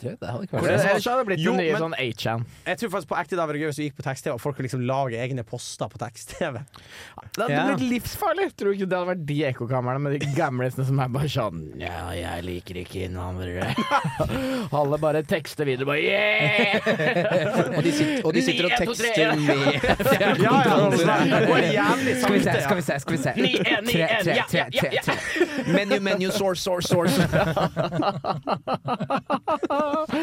[SPEAKER 3] Det hadde ikke
[SPEAKER 2] Hvor er det-
[SPEAKER 3] vært sånn.
[SPEAKER 4] Ellers hadde det blitt
[SPEAKER 2] Jo,
[SPEAKER 4] den nye
[SPEAKER 2] men-
[SPEAKER 4] sånn 8chan.
[SPEAKER 2] Jeg tror faktisk på ekte det hadde vært gøy hvis du gikk på tekst-TV og folk kunne liksom lage egne poster på tekst-TV.
[SPEAKER 4] Det hadde
[SPEAKER 1] Ja.
[SPEAKER 4] blitt livsfarlig! Tror du ikke det hadde vært de ekkokamrene med de gamlisene som er bare sånn Ja, jeg liker ikke innvandrere. Alle bare tekster videre, bare yeah!
[SPEAKER 1] Og de, sit, og de sitter og
[SPEAKER 4] Ni, en, to, tre,
[SPEAKER 1] tekster med
[SPEAKER 2] Ja, ja, det var jævlig
[SPEAKER 3] Skal vi
[SPEAKER 2] sakte,
[SPEAKER 3] se,
[SPEAKER 2] ja.
[SPEAKER 3] skal vi se. skal vi se
[SPEAKER 4] Ni, en, ni,
[SPEAKER 3] Tre,
[SPEAKER 4] en,
[SPEAKER 3] tre,
[SPEAKER 4] ja,
[SPEAKER 3] tre,
[SPEAKER 4] ja, ja,
[SPEAKER 3] tre,
[SPEAKER 4] ja.
[SPEAKER 3] tre.
[SPEAKER 1] Menu, menu, source, source, source.
[SPEAKER 2] Det er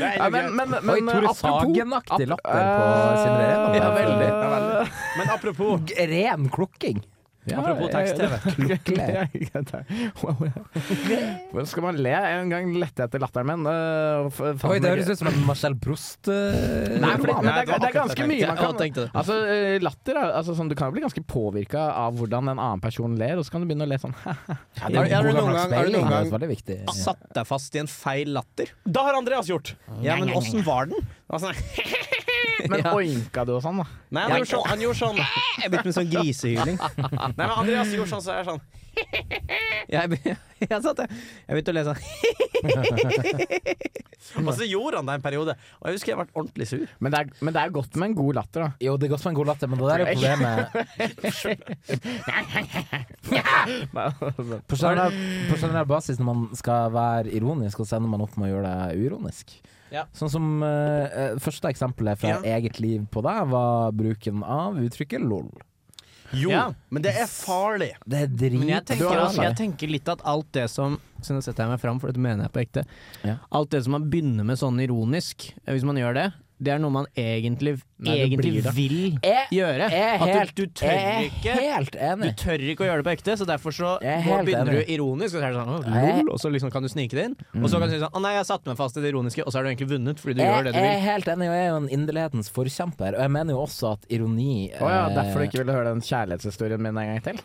[SPEAKER 4] Ja,
[SPEAKER 2] jo
[SPEAKER 4] men,
[SPEAKER 2] gøy.
[SPEAKER 4] men, men eh,
[SPEAKER 3] Oi, Tore
[SPEAKER 4] apropos-
[SPEAKER 3] Sagen-aktig latter på
[SPEAKER 4] Eh,
[SPEAKER 3] Sindre
[SPEAKER 4] Ja,
[SPEAKER 3] Redan.
[SPEAKER 4] veldig.
[SPEAKER 2] Ja, veldig. Men apropos
[SPEAKER 3] Ren klukking.
[SPEAKER 2] Apropos tekst-TV.
[SPEAKER 4] Ja, ja, ja. Wow, ja. Hvordan skal man le? En gang lette jeg etter latteren min. øh, og f- fant
[SPEAKER 3] Oi, det
[SPEAKER 4] meg
[SPEAKER 3] høres
[SPEAKER 4] ikke-
[SPEAKER 3] ut som en Marcel Proust eh,
[SPEAKER 4] Nei, fordi,
[SPEAKER 2] det var
[SPEAKER 4] men det,
[SPEAKER 3] roman.
[SPEAKER 4] er, det er
[SPEAKER 2] akkurat
[SPEAKER 4] ganske
[SPEAKER 2] det
[SPEAKER 4] mye
[SPEAKER 1] jeg tenkte.
[SPEAKER 4] man kan
[SPEAKER 1] Ja, tenkte det.
[SPEAKER 4] Altså, øh, latter er- altså, sånn, Du kan bli ganske påvirka av hvordan en annen person ler, og så kan du begynne å le sånn.
[SPEAKER 3] Ja,
[SPEAKER 1] Har- har du
[SPEAKER 3] god
[SPEAKER 1] noen gang-
[SPEAKER 3] gammeldags
[SPEAKER 1] har du
[SPEAKER 3] speiling,
[SPEAKER 1] noen
[SPEAKER 3] det er
[SPEAKER 1] gang-
[SPEAKER 3] veldig viktig.
[SPEAKER 1] Satt deg fast i en feil latter.
[SPEAKER 2] Da har Andreas gjort!
[SPEAKER 1] Ja, men åssen var den?
[SPEAKER 2] Det var sånn-
[SPEAKER 4] Men
[SPEAKER 1] Ja.
[SPEAKER 4] oinka du og sånn, da?
[SPEAKER 2] Nei, han gjorde sånn. Han gjorde sånn. Nei,
[SPEAKER 1] Jeg begynte med sånn grisehyling.
[SPEAKER 2] men Andreas gjorde sånn, så jeg er sånn.
[SPEAKER 1] Jeg, be- jeg satt jeg. Jeg begynte å lese sånn.
[SPEAKER 2] Og så gjorde han det en periode, og jeg husker jeg ble ordentlig sur.
[SPEAKER 4] Men det, er, men det er godt med en god latter, da.
[SPEAKER 3] Jo, det er godt med en god latter, men det der er jo problemet På generell, på generell basis, når man skal være ironisk, og så ender man opp med å gjøre det uironisk.
[SPEAKER 2] Ja.
[SPEAKER 3] Sånn som eh, eh, Første eksempelet fra
[SPEAKER 2] Ja.
[SPEAKER 3] eget liv på deg var bruken av uttrykket lol.
[SPEAKER 2] Jo,
[SPEAKER 4] Ja.
[SPEAKER 2] men det er farlig.
[SPEAKER 3] Det er drit...
[SPEAKER 1] Men jeg
[SPEAKER 3] Du
[SPEAKER 1] tenker,
[SPEAKER 3] har-
[SPEAKER 1] altså, jeg tenker litt at alt det som Så nå setter jeg meg fram, for dette mener jeg på ekte.
[SPEAKER 3] Ja.
[SPEAKER 1] Alt det som man begynner med sånn ironisk, eh, hvis man gjør det, det er noe man egentlig,
[SPEAKER 4] Nei, det
[SPEAKER 1] egentlig
[SPEAKER 4] blir det.
[SPEAKER 1] vil
[SPEAKER 3] Jeg-
[SPEAKER 1] gjøre.
[SPEAKER 3] jeg er
[SPEAKER 1] At
[SPEAKER 3] helt-
[SPEAKER 1] du, du tør
[SPEAKER 3] jeg
[SPEAKER 1] ikke
[SPEAKER 3] er helt
[SPEAKER 1] Du
[SPEAKER 3] enig.
[SPEAKER 1] tør ikke å gjøre det på ekte, så derfor så
[SPEAKER 3] Jeg er
[SPEAKER 1] går-
[SPEAKER 3] helt
[SPEAKER 1] begynner
[SPEAKER 3] enig.
[SPEAKER 1] du ironisk, og så er det sånn «Åh,
[SPEAKER 3] Jeg-
[SPEAKER 1] lol, og så liksom kan du snike det inn. Og så kan du si sånn 'Å nei, jeg satte meg fast i det ironiske', og så har du egentlig vunnet
[SPEAKER 2] Eh,
[SPEAKER 1] fordi du gjør
[SPEAKER 3] Jeg
[SPEAKER 1] det du
[SPEAKER 3] er
[SPEAKER 1] vil.
[SPEAKER 3] helt enig, og jeg er jo en inderlighetens forkjemper. Og jeg mener jo også at ironi eh,
[SPEAKER 4] Å ja, derfor du ikke ville høre den kjærlighetshistorien min en gang til?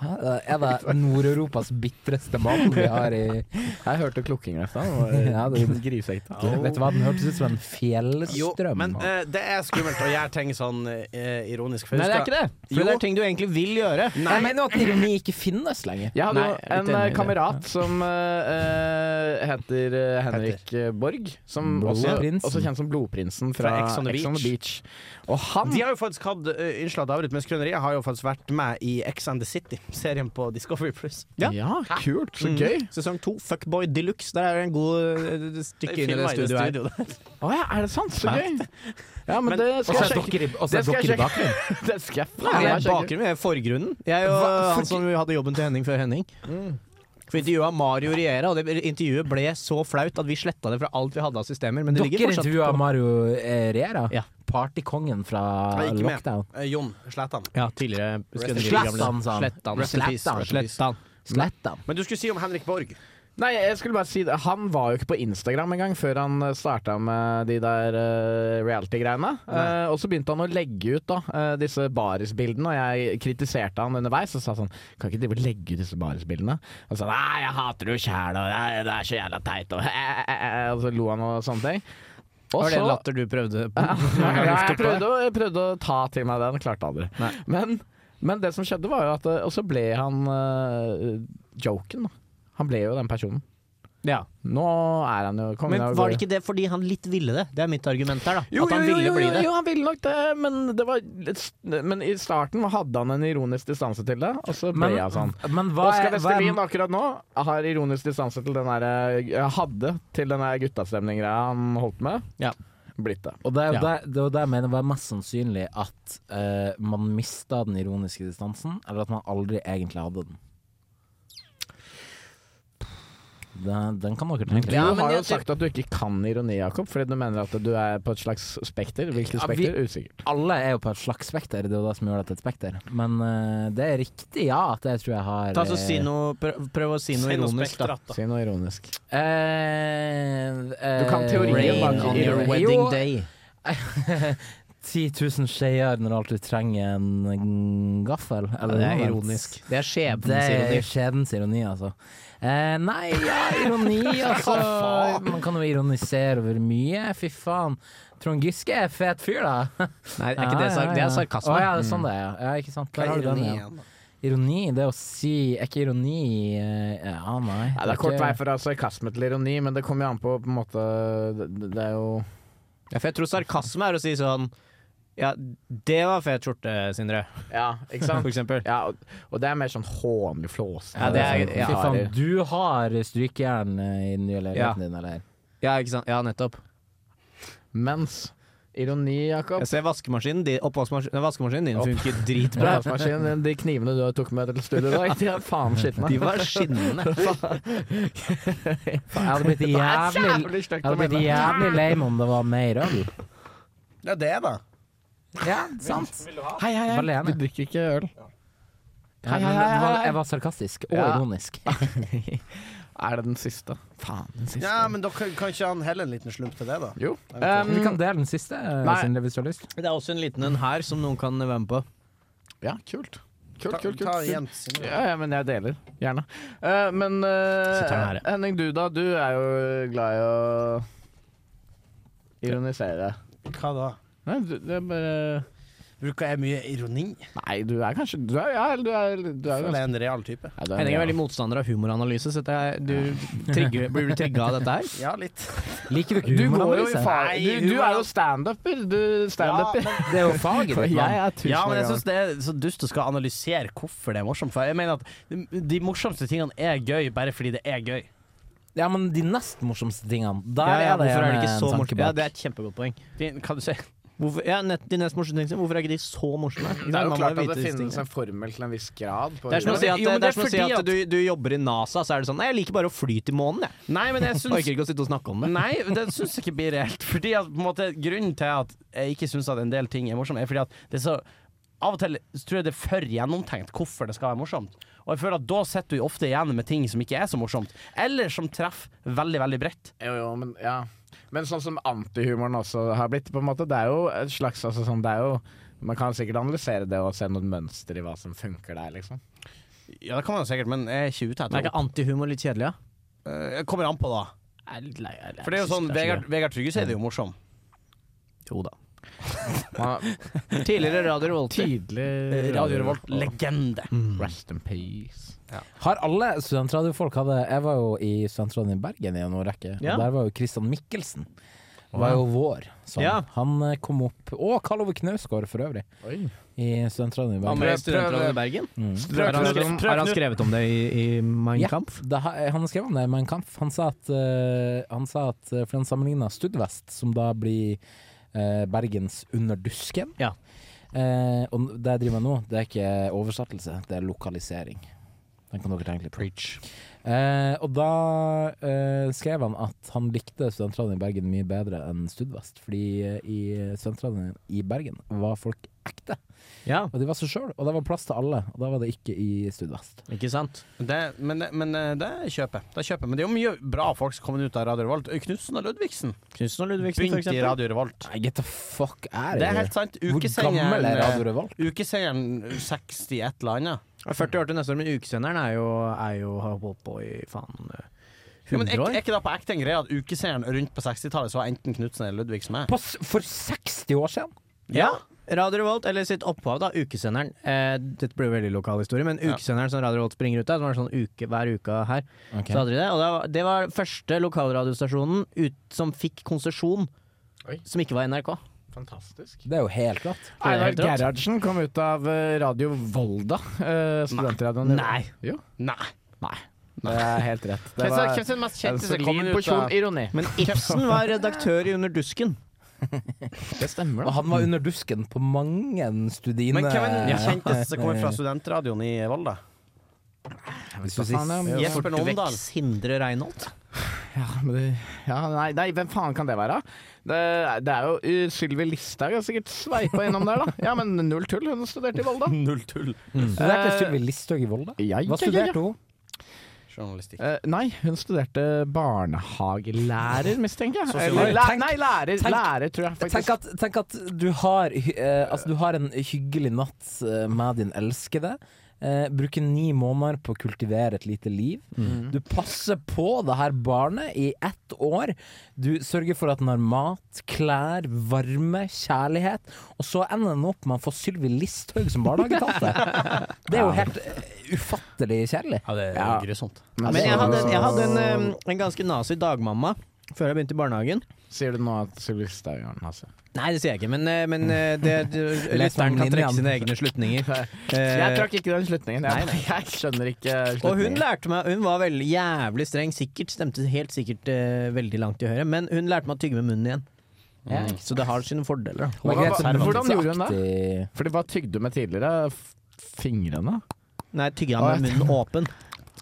[SPEAKER 3] Hæ? Er det Nord-Europas bitreste mann vi har i
[SPEAKER 4] Jeg hørte klukking i stad.
[SPEAKER 3] Ja, det-
[SPEAKER 4] Griseekte.
[SPEAKER 3] Vet du hva, den hørtes ut som en
[SPEAKER 2] Jo,
[SPEAKER 3] fjellstrøm. altså.
[SPEAKER 2] men eh, det er skummelt å gjøre ting sånn eh, ironisk. for
[SPEAKER 1] Nei, det er
[SPEAKER 2] husker-
[SPEAKER 1] ikke det. For
[SPEAKER 2] Jo.
[SPEAKER 1] det er ting du egentlig vil gjøre.
[SPEAKER 3] Jeg mener jo at ironi ikke finnes lenger.
[SPEAKER 4] Jeg hadde
[SPEAKER 1] Nei,
[SPEAKER 4] jo
[SPEAKER 1] jeg er litt
[SPEAKER 4] en eh,
[SPEAKER 1] enig i det.
[SPEAKER 4] kamerat som eh, eh, heter eh, Henrik eh, Borg. Som også,
[SPEAKER 3] Blodprinsen.
[SPEAKER 4] også kjent som Blodprinsen fra,
[SPEAKER 2] Fra Ex on the
[SPEAKER 4] Ex on the Beach. Og han
[SPEAKER 2] De har jo faktisk hatt uh, Unnskyld at jeg avbryter, men Skrøneriet har jo faktisk vært med i X and the City, serien på Discovery Plus
[SPEAKER 1] Ja.
[SPEAKER 4] kult. Så
[SPEAKER 1] Mm.
[SPEAKER 4] gøy.
[SPEAKER 1] Sesong to, Fuckboy Deluxe. Der er det en god eh, stykke inn i det studioet her.
[SPEAKER 4] Å ja, er det sant? Så gøy. Ja, men,
[SPEAKER 2] Men-
[SPEAKER 4] det
[SPEAKER 3] Og
[SPEAKER 4] skal jeg
[SPEAKER 3] så er
[SPEAKER 4] sjekke.
[SPEAKER 3] dokker i- og så er
[SPEAKER 4] Det skal jeg
[SPEAKER 3] dokker i
[SPEAKER 4] sjekke.
[SPEAKER 3] bakgrunnen.
[SPEAKER 4] Det skal jeg
[SPEAKER 1] Nei,
[SPEAKER 4] faen
[SPEAKER 1] det
[SPEAKER 4] meg
[SPEAKER 1] er
[SPEAKER 4] sjekke.
[SPEAKER 1] bakgrunnen, det er forgrunnen. Jeg og
[SPEAKER 4] Hva?
[SPEAKER 1] han som hadde jobben til Henning før Henning. For intervjuet av Mario Riera, og det intervjuet ble så flaut at vi sletta det fra alt vi hadde av systemer. Men det ligger
[SPEAKER 3] Dere
[SPEAKER 1] fortsatt
[SPEAKER 3] intervjua
[SPEAKER 1] på.
[SPEAKER 3] Mario eh, Riera,
[SPEAKER 1] Ja.
[SPEAKER 3] partykongen
[SPEAKER 2] Jeg
[SPEAKER 3] fra
[SPEAKER 2] er ikke med.
[SPEAKER 3] Lockdown.
[SPEAKER 2] Eh, Jon Slætan.
[SPEAKER 1] Ja, tidligere
[SPEAKER 3] Slettan, sa han.
[SPEAKER 1] Slettan.
[SPEAKER 3] Rest in peace.
[SPEAKER 1] Slettan. Slettan.
[SPEAKER 3] Slett dem.
[SPEAKER 2] Men du skulle si om Henrik Borg.
[SPEAKER 4] Nei, jeg skulle bare si det. Han var jo ikke på Instagram engang før han starta med de der eh, reality-greiene. Eh, og så begynte han å legge ut da, eh, disse barisbildene, og jeg kritiserte han underveis og sa sånn Kan ikke drive og legge ut disse barisbildene? Og så Nei, jeg hater det jo sjæl, og det er- det er så jævla teit, og Og så lo han og sånne ting. Og
[SPEAKER 1] Var det
[SPEAKER 4] så-
[SPEAKER 1] en latter du prøvde på?
[SPEAKER 4] ja, jeg, prøvde å, jeg prøvde å ta til meg den, klarte aldri. Men, men det som skjedde, var jo at eh, Og så ble han eh, joken, da. Han ble jo den personen.
[SPEAKER 1] Ja.
[SPEAKER 4] Nå er han jo kongen
[SPEAKER 1] Men
[SPEAKER 4] av-
[SPEAKER 1] var det ikke det fordi han litt ville det? Det er mitt argument her, da.
[SPEAKER 4] jo,
[SPEAKER 1] At han
[SPEAKER 4] jo, jo,
[SPEAKER 1] ville
[SPEAKER 4] jo,
[SPEAKER 1] bli
[SPEAKER 4] jo,
[SPEAKER 1] det.
[SPEAKER 4] Jo, han ville nok det, men, det var litt, men i starten hadde han en ironisk distanse til det, og så ble
[SPEAKER 3] Men,
[SPEAKER 4] han sånn.
[SPEAKER 3] men hva
[SPEAKER 4] Oskar
[SPEAKER 3] er, hva
[SPEAKER 4] Vestelin
[SPEAKER 3] er
[SPEAKER 4] akkurat nå har ironisk distanse til den der, eh, hadde til den der guttastemninga han holdt med.
[SPEAKER 1] Ja.
[SPEAKER 4] Blitt det.
[SPEAKER 3] og det er jo
[SPEAKER 1] Ja.
[SPEAKER 3] det, det, er jo det jeg mener var mest sannsynlig at eh, man mista den ironiske distansen, eller at man aldri egentlig hadde den. Den, den kan dere tenke
[SPEAKER 4] Du
[SPEAKER 3] litt
[SPEAKER 1] Ja, men
[SPEAKER 4] har jo
[SPEAKER 1] jeg-
[SPEAKER 4] sagt at du ikke kan ironi, Jakob, fordi du mener at du er på et slags spekter. Hvilket
[SPEAKER 3] Ja, vi-
[SPEAKER 4] spekter? Usikkert.
[SPEAKER 3] Alle er jo på et slags spekter, det er jo det som gjør det til et spekter. Men eh, det er riktig, ja, at jeg tror jeg har
[SPEAKER 1] Ta så si
[SPEAKER 3] eh,
[SPEAKER 1] noe, prøv, prøv å si noe ironisk, da.
[SPEAKER 4] Si noe ironisk.
[SPEAKER 3] eh,
[SPEAKER 4] Du kan teorien
[SPEAKER 3] rain
[SPEAKER 4] bak
[SPEAKER 3] on
[SPEAKER 4] your
[SPEAKER 3] your-
[SPEAKER 1] wedding
[SPEAKER 3] Jo,
[SPEAKER 1] day.
[SPEAKER 3] 10 000 skjeer når alt du trenger en gaffel.
[SPEAKER 1] Ja,
[SPEAKER 3] Eller
[SPEAKER 1] det
[SPEAKER 3] noe
[SPEAKER 1] er
[SPEAKER 3] annet.
[SPEAKER 1] ironisk. Det er
[SPEAKER 3] Det
[SPEAKER 1] skjebnesironi.
[SPEAKER 3] er skjebnens ironi, altså. Eh, nei, ja, ironi, altså. Man kan jo ironisere over mye. Fy faen. Trond Giske er fet fyr, da.
[SPEAKER 1] Nei, er ikke det,
[SPEAKER 3] Ja, ja,
[SPEAKER 1] sark- det
[SPEAKER 3] ja.
[SPEAKER 1] er sarkasme.
[SPEAKER 3] Å ja, det er sånn det er. Ja, ikke sant. Der
[SPEAKER 2] Hva
[SPEAKER 3] har
[SPEAKER 2] er
[SPEAKER 3] du den,
[SPEAKER 2] ironi
[SPEAKER 3] ja.
[SPEAKER 2] igjen, da?
[SPEAKER 3] Ironi, det å si Er ikke ironi eh, Ja, nei.
[SPEAKER 4] Ja, det er kort
[SPEAKER 3] ikke-
[SPEAKER 4] vei fra sarkasme til ironi, men det kommer jo an på på en måte Det, det er jo
[SPEAKER 1] Ja, for jeg tror sarkasme er å si sånn Ja, det var fet skjorte, Sindre,
[SPEAKER 4] Ja,
[SPEAKER 1] for
[SPEAKER 4] ikke sant?
[SPEAKER 1] eksempel.
[SPEAKER 4] Ja, og, og det er mer sånn hånlig flås.
[SPEAKER 1] Ja, det er-
[SPEAKER 4] sånn
[SPEAKER 1] ja.
[SPEAKER 3] Fy
[SPEAKER 4] kommentarer.
[SPEAKER 3] faen, du har strykejern eh, i den nye
[SPEAKER 1] Ja.
[SPEAKER 3] leiligheten din, eller?
[SPEAKER 1] Ja, ikke sant? Ja, nettopp.
[SPEAKER 4] Mens ironi, Jakob
[SPEAKER 1] Jeg ser vaskemaskinen din, oppvaskmaskinen, nei, vaskemaskinen din
[SPEAKER 4] Opp.
[SPEAKER 1] funker dritbra.
[SPEAKER 4] Oppvaskmaskinen, De knivene du tok med til studio i dag, de er faen skitne.
[SPEAKER 1] De var skinnende.
[SPEAKER 3] Faen, Jeg hadde blitt jævlig,
[SPEAKER 4] jævlig
[SPEAKER 3] jeg
[SPEAKER 4] stygt å
[SPEAKER 3] hadde blitt
[SPEAKER 4] melde.
[SPEAKER 3] jævlig lei meg om det var mer øl.
[SPEAKER 2] Det er det, da.
[SPEAKER 3] Ja, sant.
[SPEAKER 4] Hei, hei,
[SPEAKER 3] Veldig
[SPEAKER 4] hei.
[SPEAKER 3] enig.
[SPEAKER 4] Vi drikker ikke øl.
[SPEAKER 3] Ja,
[SPEAKER 4] Hei,
[SPEAKER 3] men
[SPEAKER 4] hei,
[SPEAKER 3] det
[SPEAKER 4] hei,
[SPEAKER 3] var,
[SPEAKER 4] hei.
[SPEAKER 3] jeg var sarkastisk og
[SPEAKER 4] Ja.
[SPEAKER 3] ironisk.
[SPEAKER 4] Er det den siste? Faen, den siste.
[SPEAKER 2] Ja, men dere kan- kan ikke han helle en liten slump til det, da?
[SPEAKER 4] Jo.
[SPEAKER 2] Um,
[SPEAKER 3] Vi kan dele den siste, eh,
[SPEAKER 4] Nei.
[SPEAKER 3] Sindre, hvis du har lyst.
[SPEAKER 1] Det er også en liten en her som noen kan være med på.
[SPEAKER 4] ja, kult. Kult,
[SPEAKER 2] Ta,
[SPEAKER 4] kult, kult.
[SPEAKER 2] ta
[SPEAKER 4] kult.
[SPEAKER 2] igjen Sindre.
[SPEAKER 4] Ja, ja, men jeg deler. Gjerne. Eh, men eh,
[SPEAKER 1] Så tar jeg den her, ja.
[SPEAKER 4] Henning, du da? Du er jo glad i å ironisere.
[SPEAKER 2] Hva da?
[SPEAKER 4] Nei, du, det er bare
[SPEAKER 2] Bruker jeg mye ironi?
[SPEAKER 4] Nei, du er kanskje Du er, ja, du er, du er,
[SPEAKER 2] Føler
[SPEAKER 4] ganske-
[SPEAKER 2] jeg er en real type.
[SPEAKER 4] Nei, du
[SPEAKER 1] Henning er
[SPEAKER 4] er
[SPEAKER 1] veldig motstander av humoranalyse, så dette er- du trigger, blir du trigga av dette her?
[SPEAKER 2] Ja, litt.
[SPEAKER 3] Liker du ikke
[SPEAKER 4] Du går jo i
[SPEAKER 3] humoranalyse?
[SPEAKER 4] far...
[SPEAKER 2] Nei,
[SPEAKER 4] Du, du er jo standuper. Du standuper.
[SPEAKER 3] Det er jo faget ditt,
[SPEAKER 4] jeg
[SPEAKER 3] mann.
[SPEAKER 4] er tusen
[SPEAKER 2] Ja, men jeg
[SPEAKER 4] ganger.
[SPEAKER 2] syns det er så dust å skal analysere hvorfor det er morsomt. For jeg mener at de- de morsomste tingene er gøy bare fordi det er gøy.
[SPEAKER 3] Ja, men de nest morsomste tingene, der
[SPEAKER 1] Ja, ja,
[SPEAKER 3] er det
[SPEAKER 1] hvorfor er det
[SPEAKER 3] gjerne
[SPEAKER 1] ikke
[SPEAKER 3] en
[SPEAKER 1] så
[SPEAKER 3] eh, tanke
[SPEAKER 1] morsomt? Ja,
[SPEAKER 3] bak.
[SPEAKER 1] det er et kjempegodt poeng.
[SPEAKER 2] Fin- Hva du sier
[SPEAKER 1] Hvorfor, ja, nett, de nest morsomste tingene, hvorfor er ikke de så morsomme?
[SPEAKER 4] Det er jo
[SPEAKER 1] Man må
[SPEAKER 4] klart at det
[SPEAKER 1] vite disse
[SPEAKER 4] finnes
[SPEAKER 1] tingene.
[SPEAKER 4] en formel til en viss grad. På
[SPEAKER 1] Det er som å si at,
[SPEAKER 2] Jo,
[SPEAKER 1] det
[SPEAKER 2] men det
[SPEAKER 1] er
[SPEAKER 2] er
[SPEAKER 1] som å si
[SPEAKER 2] fordi
[SPEAKER 1] at
[SPEAKER 2] at-
[SPEAKER 1] du, du jobber i NASA, så er det sånn Nei, jeg liker bare å fly til månen, jeg.
[SPEAKER 2] Nei, men jeg
[SPEAKER 1] Jeg
[SPEAKER 2] syns
[SPEAKER 1] Orker ikke å sitte og snakke om det.
[SPEAKER 2] Nei, det syns jeg ikke blir reelt. Fordi at, på en måte, grunnen til at jeg ikke syns at en del ting er morsomme, er fordi at det er så Av og til så tror jeg det er for gjennomtenkt hvorfor det skal være morsomt. Og jeg føler at da sitter du ofte igjen med ting som ikke er så morsomt, eller som treffer veldig, veldig bredt.
[SPEAKER 4] Jo, jo, men ja. Men sånn som antihumoren også har blitt, på en måte. Det er jo et slags altså, sånn, det er jo, Man kan sikkert analysere det og se noen mønster i hva som funker der, liksom.
[SPEAKER 2] Ja, det kan man jo sikkert, men jeg er ikke ute
[SPEAKER 1] Men er
[SPEAKER 2] etter
[SPEAKER 1] ikke antihumor litt kjedelig, da?
[SPEAKER 2] Eh, Jeg kommer an på, da.
[SPEAKER 1] Jeg er litt lei- jeg- jeg
[SPEAKER 2] For det er jo
[SPEAKER 1] synes
[SPEAKER 2] sånn,
[SPEAKER 1] ikke
[SPEAKER 2] Vegard, Vegard Trygge sier det jo morsom.
[SPEAKER 1] det. Jo da.
[SPEAKER 4] Man,
[SPEAKER 1] Tidligere Radio Revolt.
[SPEAKER 4] tidlig
[SPEAKER 2] Radio Revolt-legende.
[SPEAKER 4] Mm. Rest in peace.
[SPEAKER 3] Har alle studentradiofolk hadde Jeg var jo i studentradioen i Bergen i en årrekke.
[SPEAKER 1] Ja.
[SPEAKER 3] Og der var jo Christian Mikkelsen. Var jo vår. Sånn.
[SPEAKER 1] Ja.
[SPEAKER 3] Han eh, kom opp Og Karl Ove Knausgård, for øvrig,
[SPEAKER 4] Oi.
[SPEAKER 3] i studentradioen i
[SPEAKER 2] Han
[SPEAKER 3] Bergen.
[SPEAKER 2] med i Studentradioen i Bergen.
[SPEAKER 1] Har han, skrevet, har han skrevet om det i, i Mein
[SPEAKER 3] Ja.
[SPEAKER 1] Kampf?
[SPEAKER 3] Det, ha- eh, han skrev om det i Mein Kampf. Han sa at, eh, han sa at eh, For han sammenligna Studvest, som da blir eh, Bergens Under dusken.
[SPEAKER 1] Ja.
[SPEAKER 3] Eh, og det jeg driver med nå, det er ikke oversettelse, det er lokalisering. Den kan dere tenke litt på. Eh, og da eh, skrev han at han likte studentradioen i Bergen mye bedre enn Studvest. Fordi eh, i studentradioen i Bergen var folk ekte,
[SPEAKER 1] Ja,
[SPEAKER 3] og de var seg sjøl. Og det var plass til alle, og da var det ikke i Studvest.
[SPEAKER 1] ikke sant?
[SPEAKER 2] Det, men, det- men eh, det kjøper jeg. Det kjøper jeg. Men det er jo mye bra folk som kommer ut av Radio Revolt. Knutsen og Ludvigsen
[SPEAKER 1] Knutsen og Ludvigsen, for
[SPEAKER 2] begynte i
[SPEAKER 1] eksempel.
[SPEAKER 2] Radio Revolt.
[SPEAKER 3] Nei, get the fuck er
[SPEAKER 2] Det er helt sant.
[SPEAKER 3] Hvor gammel er
[SPEAKER 2] Ukesenderen
[SPEAKER 3] Radio Revolt?
[SPEAKER 2] Ukeseieren 60 et eller annet.
[SPEAKER 1] 40 år til neste år, men ukesenderen er jo, er jo har holdt på i faen eh,
[SPEAKER 2] Ja, men
[SPEAKER 1] 100
[SPEAKER 2] er,
[SPEAKER 1] år.
[SPEAKER 2] er ikke det på ekte en greie at ukeseieren rundt på 60-tallet så var enten Knutsen eller Ludvigsen med?
[SPEAKER 3] På s- For 60 år siden?
[SPEAKER 1] Ja. Radio Revolt, eller sitt opphav, da, ukesenderen. Eh, dette blir jo veldig lokal historie, men
[SPEAKER 2] Ja.
[SPEAKER 1] ukesenderen som Radio Revolt springer ut av, som var sånn uke hver uke her,
[SPEAKER 3] Ok.
[SPEAKER 1] så hadde de det. Og det var, det var første lokalradiostasjonen ut, som fikk konsesjon,
[SPEAKER 4] Oi.
[SPEAKER 1] som ikke var NRK.
[SPEAKER 4] Fantastisk.
[SPEAKER 3] Det er jo helt rått.
[SPEAKER 4] Einar
[SPEAKER 1] helt rått.
[SPEAKER 4] Gerhardsen kom ut av eh, Radio Volda. eh, Studentradioen. i-
[SPEAKER 1] Nei.
[SPEAKER 4] Jo,
[SPEAKER 2] Nei.
[SPEAKER 4] det er helt rett. Det
[SPEAKER 2] Hvem som- hvem
[SPEAKER 4] var
[SPEAKER 2] som er den mest
[SPEAKER 4] en
[SPEAKER 2] kjente som kom ut
[SPEAKER 4] solid
[SPEAKER 2] av
[SPEAKER 4] porsjon ironi.
[SPEAKER 1] Men Ibsen var redaktør i Under dusken.
[SPEAKER 4] Det stemmer,
[SPEAKER 3] Og
[SPEAKER 4] da.
[SPEAKER 3] han var under dusken på mange studine
[SPEAKER 2] Men hvem er den kjenteste som kommer fra studentradioen i Volda?
[SPEAKER 3] Hvis du sier-
[SPEAKER 4] Faen, ja.
[SPEAKER 2] Jesper Nomdal.
[SPEAKER 1] Fortveks Hindre Reinholt.
[SPEAKER 4] Ja, men det, ja, nei, nei, hvem faen kan det være? Det, det er jo uh, Sylvi Listhaug har sikkert sveipa innom der, da. Ja, men null tull, hun studerte i Volda.
[SPEAKER 2] Null tull.
[SPEAKER 3] Studerte
[SPEAKER 4] Eh,
[SPEAKER 3] Sylvi Listhaug i Volda?
[SPEAKER 4] Ja, ja,
[SPEAKER 3] Hva
[SPEAKER 4] ja, ja.
[SPEAKER 3] studerte hun?
[SPEAKER 2] Journalistikk.
[SPEAKER 4] Eh, nei, hun studerte barnehagelærer, mistenker jeg.
[SPEAKER 2] Sosionom.
[SPEAKER 4] Eller, læ
[SPEAKER 3] Tenk-
[SPEAKER 4] nei, lærer,
[SPEAKER 3] tenk-
[SPEAKER 4] lærer, tror jeg faktisk.
[SPEAKER 3] Tenk at, tenk at du, har, hy- eh, altså du har en hyggelig natt eh, med din elskede. Eh, bruker ni måneder på å kultivere et lite liv.
[SPEAKER 4] Mm.
[SPEAKER 3] Du passer på det her barnet i ett år. Du sørger for at den har mat, klær, varme, kjærlighet. Og så ender den opp med å få Sylvi Listhaug som barnehagetante. Det er jo helt eh, ufattelig kjedelig.
[SPEAKER 2] Ja, det er
[SPEAKER 4] Ja.
[SPEAKER 2] grusomt.
[SPEAKER 4] Men
[SPEAKER 1] Men jeg
[SPEAKER 4] så-
[SPEAKER 1] hadde, jeg hadde en, eh, en ganske nazi dagmamma før jeg begynte i barnehagen.
[SPEAKER 4] Sier du nå at Sylvi Listhaug gjør den, altså?
[SPEAKER 1] Nei, det sier jeg ikke, men, eh, men eh, det, det, sånn lytteren kan trekke sine egne slutninger.
[SPEAKER 4] Jeg
[SPEAKER 1] Eh,
[SPEAKER 4] trakk ikke den slutningen. Jeg, jeg skjønner ikke
[SPEAKER 1] og hun
[SPEAKER 4] slutningen.
[SPEAKER 1] lærte meg Hun var veldig jævlig streng, sikkert. Stemte helt sikkert eh, veldig langt til høyre, men hun lærte meg å tygge med munnen igjen. Mm. Så det har sine fordeler. da.
[SPEAKER 4] Hva-
[SPEAKER 3] Det er greit,
[SPEAKER 4] hva- hvordan gjorde hun det?
[SPEAKER 3] aktig-
[SPEAKER 4] Fordi hva tygde du med tidligere? F- Fingrene?
[SPEAKER 1] Nei, tygge han med munnen åpen.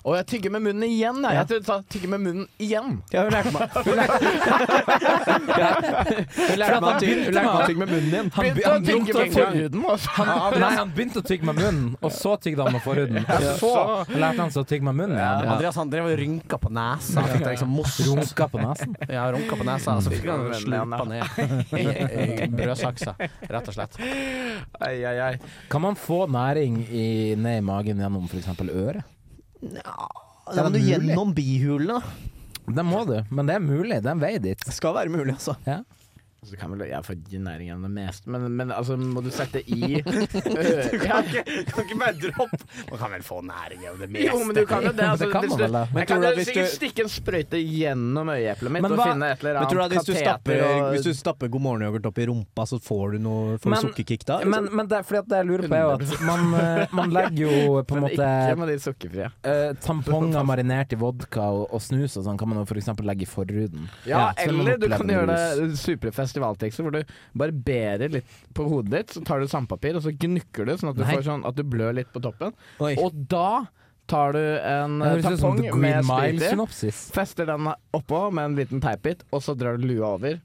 [SPEAKER 4] Å, jeg tygger med munnen igjen, jeg. jeg tygde- tygger med munnen igjen.
[SPEAKER 1] Ja, hun lærte meg Hun lærte, hun lærte meg å tygge- hun lærte meg å tygge med munnen igjen.
[SPEAKER 3] Han,
[SPEAKER 4] Begynte å
[SPEAKER 3] han,
[SPEAKER 4] tygge med
[SPEAKER 3] begynte å-
[SPEAKER 4] forhuden, og så-
[SPEAKER 3] Han, nei, han begynte å tygge med munnen, og så tygde han med forhuden. Og så lærte han seg å tygge med munnen igjen.
[SPEAKER 2] Andreas han drev og rynka på nesa. Fikk det liksom most.
[SPEAKER 3] Runka på nesen.
[SPEAKER 2] Ja, runka på nesa, så fikk han slurpa ned i- i brødsaksa, rett og slett.
[SPEAKER 4] Ai, ai, ai.
[SPEAKER 3] Kan man få næring i, ned i magen gjennom f.eks. øret?
[SPEAKER 1] Da må du gjennom bihulene. da.
[SPEAKER 3] Det må du, men det er mulig. Det er en vei dit.
[SPEAKER 1] Det skal være mulig, altså.
[SPEAKER 4] Så kan vel jeg få næring av det meste, men, men altså, må du sette i øret? Ja,
[SPEAKER 2] Kan ikke bare droppe Man kan vel få næring av det
[SPEAKER 4] Jo, men du kan jo det. Altså,
[SPEAKER 3] Det kan
[SPEAKER 4] hvis
[SPEAKER 3] man
[SPEAKER 4] du,
[SPEAKER 3] vel, da. Men
[SPEAKER 4] jeg
[SPEAKER 1] tror
[SPEAKER 4] kan
[SPEAKER 1] du at
[SPEAKER 4] jo
[SPEAKER 1] hvis
[SPEAKER 4] sikkert
[SPEAKER 1] du-
[SPEAKER 4] stikke en sprøyte gjennom øyeeplet mitt
[SPEAKER 3] Men
[SPEAKER 4] og
[SPEAKER 3] hva-
[SPEAKER 4] finne et eller
[SPEAKER 1] Men tror du
[SPEAKER 4] annet
[SPEAKER 1] at hvis du, stapper,
[SPEAKER 4] kateter og
[SPEAKER 1] hvis du stapper God morgen-yoghurt opp i rumpa, så får du noe får
[SPEAKER 3] Men-
[SPEAKER 1] du sukkerkick da? liksom?
[SPEAKER 3] Men, men det, er fordi at det jeg lurer på, er jo at man, eh, man legger jo på en
[SPEAKER 4] Men
[SPEAKER 3] måte
[SPEAKER 4] ikke med de sukkerfrie.
[SPEAKER 3] eh, tamponger marinert i vodka og, og snus og sånn, kan man jo f.eks. legge i forhuden.
[SPEAKER 4] Ja,
[SPEAKER 3] så kan man
[SPEAKER 4] eller du
[SPEAKER 3] oppleve
[SPEAKER 4] kan
[SPEAKER 3] en
[SPEAKER 4] gjøre
[SPEAKER 3] rus.
[SPEAKER 4] det supre festivaltekster hvor du barberer litt på hodet ditt, så tar du sandpapir og så gnukker du sånn at du,
[SPEAKER 3] Nei.
[SPEAKER 4] får sånn, at du blør litt på toppen.
[SPEAKER 1] Oi.
[SPEAKER 4] Og da tar du en eh,
[SPEAKER 3] Det høres ut som
[SPEAKER 4] tampong med
[SPEAKER 3] The Green
[SPEAKER 4] sprit i,
[SPEAKER 3] Mile-synopsis.
[SPEAKER 4] fester den oppå med en liten teipbit, og så drar du lua over.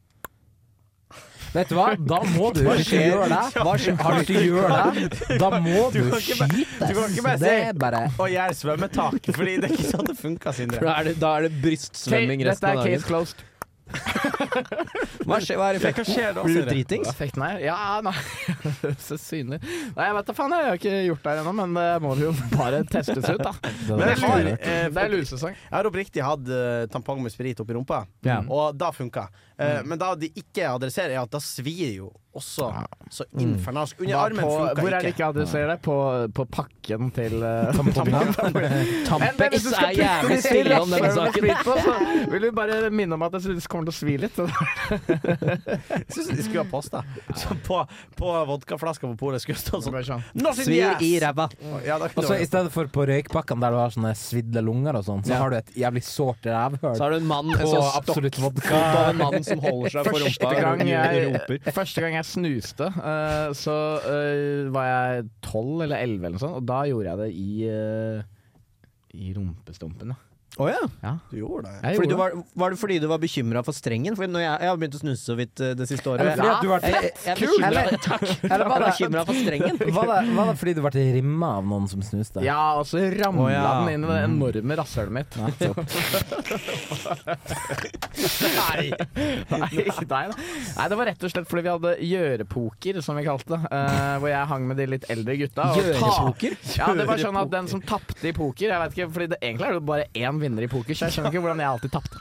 [SPEAKER 3] Vet du hva, da må du Hvis du gjør det, hva skjer? Har du ikke gjør det, da må du skytes.
[SPEAKER 2] bare
[SPEAKER 3] Det
[SPEAKER 2] si-
[SPEAKER 3] er bare
[SPEAKER 2] Og gjør svømmetak, Fordi det er ikke sånn det funker, Sindre.
[SPEAKER 1] Da er det, da er det brystsvømming
[SPEAKER 4] Dette
[SPEAKER 1] resten av
[SPEAKER 4] er case
[SPEAKER 1] dagen.
[SPEAKER 4] closed.
[SPEAKER 1] Hva skjer, hva er
[SPEAKER 2] Hva skjer da,
[SPEAKER 1] Blir
[SPEAKER 2] sier
[SPEAKER 1] du
[SPEAKER 2] jeg?
[SPEAKER 1] dritings?
[SPEAKER 4] Effekten her? Ja, nei Så synlig. Nei, jeg vet da faen, jeg har ikke gjort det her ennå, men det må jo bare testes ut, da. Men
[SPEAKER 2] Men
[SPEAKER 4] det
[SPEAKER 2] jeg
[SPEAKER 4] er
[SPEAKER 2] har,
[SPEAKER 4] lure.
[SPEAKER 2] eh,
[SPEAKER 4] Det er lusesang.
[SPEAKER 2] Jeg har oppriktig hatt eh, tampong med sprit oppi rumpa,
[SPEAKER 1] Ja.
[SPEAKER 2] og da funka. Eh, Men da de ikke adresserer, er at da svir jo også så infernalsk. Under
[SPEAKER 4] Hva
[SPEAKER 2] armen
[SPEAKER 4] på- Hvor er
[SPEAKER 2] funka
[SPEAKER 4] det
[SPEAKER 2] ikke.
[SPEAKER 4] ikke adresserer det? På, på pakken til eh, Men hvis
[SPEAKER 1] Tampex
[SPEAKER 4] du skal
[SPEAKER 1] er
[SPEAKER 4] putte
[SPEAKER 1] jævlig
[SPEAKER 4] litt
[SPEAKER 1] stille om denne
[SPEAKER 4] før du
[SPEAKER 1] saken.
[SPEAKER 4] blir på, så vil vi bare minne om at det kommer til å svi litt.
[SPEAKER 2] Jeg syns de skulle ha posta. Så på, på vodkaflaska på polet skulle det stå sånn Not in the
[SPEAKER 1] Svir
[SPEAKER 2] ass!
[SPEAKER 1] i ræva.
[SPEAKER 4] sånn.
[SPEAKER 2] Ja, da
[SPEAKER 3] Og
[SPEAKER 2] kunne
[SPEAKER 3] så I
[SPEAKER 2] det vært-
[SPEAKER 3] stedet for på røykpakkene der du har sånne svidde lunger og sånn, så
[SPEAKER 1] Ja.
[SPEAKER 3] har du et jævlig sårt rævhull.
[SPEAKER 1] Så har du en mann
[SPEAKER 3] På
[SPEAKER 1] en sånn stokk
[SPEAKER 3] absolutt vodka.
[SPEAKER 1] av en mann som holder seg for rumpa
[SPEAKER 4] Første gang
[SPEAKER 1] og
[SPEAKER 4] jeg,
[SPEAKER 1] roper.
[SPEAKER 4] første gang jeg snuste, eh, så eh, var jeg tolv eller elleve eller noe sånt, og da gjorde jeg det i eh, i rumpestumpen, ja.
[SPEAKER 1] Å ja.
[SPEAKER 2] Du gjorde det.
[SPEAKER 4] Jeg
[SPEAKER 1] Fordi du
[SPEAKER 4] gjorde det.
[SPEAKER 1] var, var det fordi du var bekymra for strengen? For når jeg, jeg har begynt å snuse så vidt eh, det siste året.
[SPEAKER 3] Eller fordi at du var
[SPEAKER 1] Jeg- jeg- jeg er
[SPEAKER 3] Kul!
[SPEAKER 1] bekymret-
[SPEAKER 3] Eller-
[SPEAKER 1] Takk.
[SPEAKER 3] Eller
[SPEAKER 1] Jeg
[SPEAKER 3] var
[SPEAKER 1] var
[SPEAKER 3] det-
[SPEAKER 1] bekymra for strengen.
[SPEAKER 3] Var det, var det fordi du ble rimma av noen som snuste?
[SPEAKER 4] Ja, og så ramla
[SPEAKER 1] Å, ja. Mm.
[SPEAKER 4] den inn i det enorme rasshølet mitt.
[SPEAKER 3] Nei, så-
[SPEAKER 4] Nei. Nei, ikke deg, da. Nei, det var rett og slett fordi vi hadde gjørepoker, som vi kalte det. eh, hvor jeg hang med de litt eldre gutta. og ta-
[SPEAKER 1] Gjørepoker?
[SPEAKER 4] Ja, det var sånn at den som tapte i poker Jeg vet ikke, fordi det egentlig er det jo bare én vinner i poker, så jeg skjønner ikke hvordan jeg alltid tapte.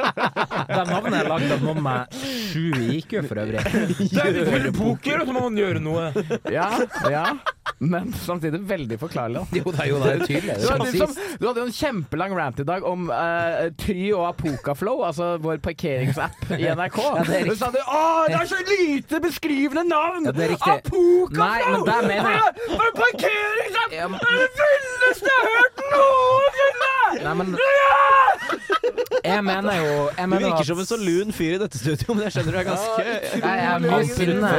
[SPEAKER 3] Det navnet er lagd av noen med sju i IQ, for øvrig.
[SPEAKER 5] poker, og så må man gjøre noe.
[SPEAKER 4] Ja, ja. Men samtidig veldig forklarlig. da.
[SPEAKER 3] Jo da, jo da, det er tydelig.
[SPEAKER 4] Du
[SPEAKER 3] Det er
[SPEAKER 4] hadde,
[SPEAKER 3] konsist.
[SPEAKER 4] liksom, du hadde jo en kjempelang rant i dag om eh, Try og Apokaflow, altså vår parkeringsapp i NRK.
[SPEAKER 3] det er
[SPEAKER 4] du sa du, Å, det er så lite beskrivende navn!
[SPEAKER 3] Ja, det er riktig.
[SPEAKER 4] Apokaflow!
[SPEAKER 3] Nei, men der mener jeg-
[SPEAKER 4] Det er en parkeringsapp!
[SPEAKER 3] Ja, men-
[SPEAKER 4] Det er det villeste jeg har hørt noensinne!
[SPEAKER 3] Nei, men Jeg mener jo jeg
[SPEAKER 1] Du
[SPEAKER 3] mener
[SPEAKER 1] virker
[SPEAKER 3] at-
[SPEAKER 1] som en så lun fyr i dette studioet, men jeg skjønner du er ganske
[SPEAKER 3] Nei, jeg må finne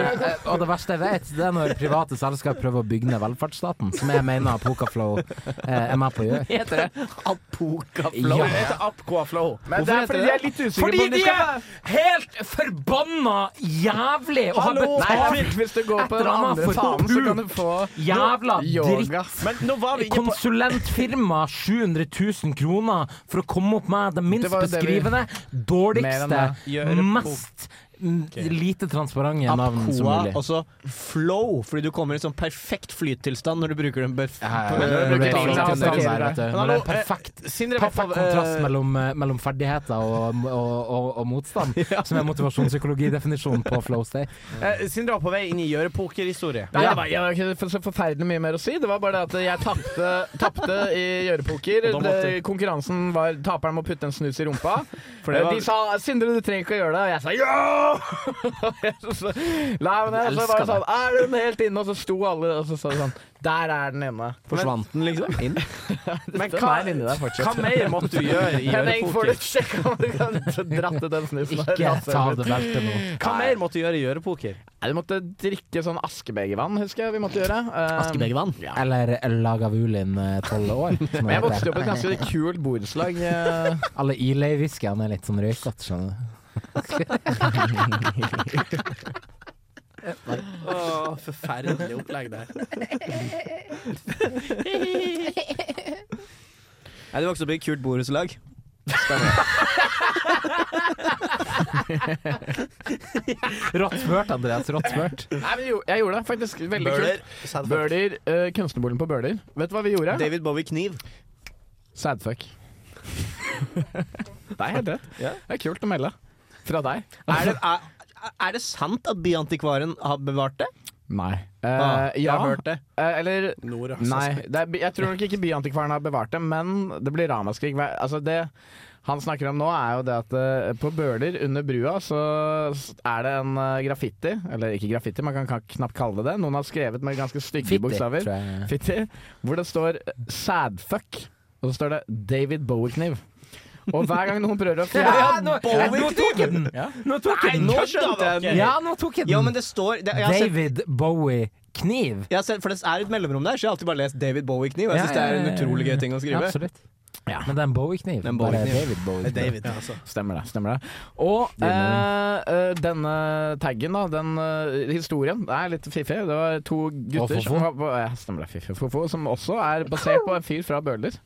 [SPEAKER 3] Og det verste jeg vet, det er når private selskap prøver å bygge ned velferdsstaten, som jeg mener Pokaflow eh, er med på å gjøre.
[SPEAKER 1] Heter det apokaflow?
[SPEAKER 3] Ja.
[SPEAKER 2] Det heter Apcoa Flow.
[SPEAKER 4] Men det er fordi de er litt usikre
[SPEAKER 5] Fordi
[SPEAKER 4] på om
[SPEAKER 5] de
[SPEAKER 4] de skal
[SPEAKER 5] er helt forbanna jævlig og har
[SPEAKER 2] Hallo!
[SPEAKER 4] Nei,
[SPEAKER 5] betalt
[SPEAKER 4] Henrik, hvis du går på
[SPEAKER 5] Etter
[SPEAKER 4] den
[SPEAKER 5] han har
[SPEAKER 4] andre
[SPEAKER 5] fått
[SPEAKER 4] fanen, så kan du få
[SPEAKER 5] jævla dritt.
[SPEAKER 4] yoga.
[SPEAKER 2] Men nå var vi inne på
[SPEAKER 5] Konsulentfirma 700 000 kroner for å komme opp med det minst
[SPEAKER 4] Det var jo det vi-
[SPEAKER 5] beskrivende,
[SPEAKER 4] Mer enn
[SPEAKER 5] dårligste,
[SPEAKER 4] det.
[SPEAKER 1] Gjøre på-
[SPEAKER 5] mest mm, lite transparente navn som
[SPEAKER 1] Apkoa,
[SPEAKER 5] mulig.
[SPEAKER 1] og så flow, fordi du kommer i sånn perfekt flyttilstand når du bruker den bef-
[SPEAKER 3] Ja,
[SPEAKER 1] på-
[SPEAKER 4] ja.
[SPEAKER 3] ja,
[SPEAKER 1] når du
[SPEAKER 4] Bruker
[SPEAKER 1] bruker den
[SPEAKER 4] tingene til å
[SPEAKER 1] til
[SPEAKER 4] tenke.
[SPEAKER 1] det.
[SPEAKER 3] der, vet du. Når det Eh, er perfekt
[SPEAKER 2] Sindre var på
[SPEAKER 3] Perfekt kontrast mellom, eh, mellom ferdigheter og, og, og, og motstand, som er motivasjonspsykologidefinisjonen på Flow State.
[SPEAKER 2] eh, Sindre var på vei inn i gjørepokerhistorie.
[SPEAKER 4] Nei, det var, jeg har ikke for- så forferdelig mye mer å si. Det var bare det at jeg tapte- tapte i gjørepoker.
[SPEAKER 2] Og da måtte-
[SPEAKER 4] Det- Konkurransen var taperen må putte en snus i rumpa. Eh,
[SPEAKER 2] For det var-
[SPEAKER 4] De sa 'Sindre, du trenger ikke å gjøre det', og jeg sa 'ja!' Så- Nei, men jeg, så var det sånn 'Er hun helt inne?' Og så sto alle og så sa de sånn 'Der er den inne'.
[SPEAKER 1] Forsvant den liksom inn?
[SPEAKER 2] Men
[SPEAKER 4] Den
[SPEAKER 2] hva,
[SPEAKER 4] er inni der fortsatt.
[SPEAKER 2] hva mer måtte du gjøre i
[SPEAKER 4] Henning, får du
[SPEAKER 2] gjørepoker?
[SPEAKER 4] sjekke om du kan dratt ut den snusen? der? Altså.
[SPEAKER 3] Ikke ta av det beltet nå.
[SPEAKER 2] Hva mer måtte du gjøre i gjørepoker?
[SPEAKER 4] Nei, Du måtte drikke sånn askebegervann, husker jeg vi måtte gjøre. Eh,
[SPEAKER 1] Askebegervann?
[SPEAKER 3] Eller Lagavulin eh, tolv år. som
[SPEAKER 4] Men jeg
[SPEAKER 3] heter.
[SPEAKER 4] vokste opp i et ganske kult borettslag. eh,
[SPEAKER 3] Alle Ilay-whiskyene er litt sånn røykete, skjønner du.
[SPEAKER 2] Åh, forferdelig opplegg der.
[SPEAKER 1] Nei, du vokste opp i et kult borettslag.
[SPEAKER 3] Rått smørt, Andreas. Rått smørt.
[SPEAKER 4] Nei, men jo, jeg gjorde det faktisk veldig
[SPEAKER 2] Bøler.
[SPEAKER 4] kult. Bøler, eh, kunstnerboligen på Bøler. Vet du hva vi gjorde?
[SPEAKER 1] David Bowie kniv.
[SPEAKER 4] Sadfuck. det er helt rett.
[SPEAKER 1] Ja.
[SPEAKER 4] Det er kult å melde. Fra deg.
[SPEAKER 1] Er det, er, er det sant at Byantikvaren har bevart det?
[SPEAKER 4] Nei.
[SPEAKER 1] Ah,
[SPEAKER 4] Eh,
[SPEAKER 1] jeg
[SPEAKER 4] ja.
[SPEAKER 1] har hørt det.
[SPEAKER 4] Eh, eller
[SPEAKER 2] Nora.
[SPEAKER 3] Altså,
[SPEAKER 4] Nei, det er, jeg tror nok ikke Byantikvaren har bevart det, men det blir ramaskrik. Hver- Altså det han snakker om nå, er jo det at eh, på Bøler, under brua, så er det en eh, graffiti. Eller ikke graffiti, man kan ka- knapt kalle det det. Noen har skrevet med ganske stygge bokstaver.
[SPEAKER 3] jeg.
[SPEAKER 4] Fitti. Hvor det står eh, 'sadfuck', og så står det 'David Bowie-kniv'. Og hver gang noen prøver å
[SPEAKER 3] Ja,
[SPEAKER 4] fjerne
[SPEAKER 3] nå, nå tok jeg den!
[SPEAKER 4] Ja.
[SPEAKER 3] Nå tok jeg den!
[SPEAKER 1] Nå skjønte jeg den!
[SPEAKER 3] Ja, nå tok jeg den!
[SPEAKER 1] Ja, men det står det, jeg, har sett,
[SPEAKER 3] David Bowie-kniv.
[SPEAKER 1] jeg har sett, For det er et mellomrom der, så jeg har alltid bare lest David Bowie-kniv. og Jeg
[SPEAKER 3] Ja,
[SPEAKER 1] syns det er
[SPEAKER 3] ja,
[SPEAKER 1] en
[SPEAKER 3] ja, ja.
[SPEAKER 1] utrolig gøy ting å skrive.
[SPEAKER 3] Absolutt. Men det er en Bowie-kniv.
[SPEAKER 1] Det er en
[SPEAKER 3] Bare
[SPEAKER 1] Bowie-kniv.
[SPEAKER 3] David Bowie.
[SPEAKER 2] David, altså.
[SPEAKER 4] Stemmer det. stemmer det Og
[SPEAKER 3] Det er
[SPEAKER 4] eh, eh, denne taggen, da, den eh, historien, det er litt fiffig. Det var to gutter
[SPEAKER 3] Og Fofo.
[SPEAKER 4] som var på, ja, Stemmer det, fiffig Fofo, som også er basert på en fyr fra Bøler.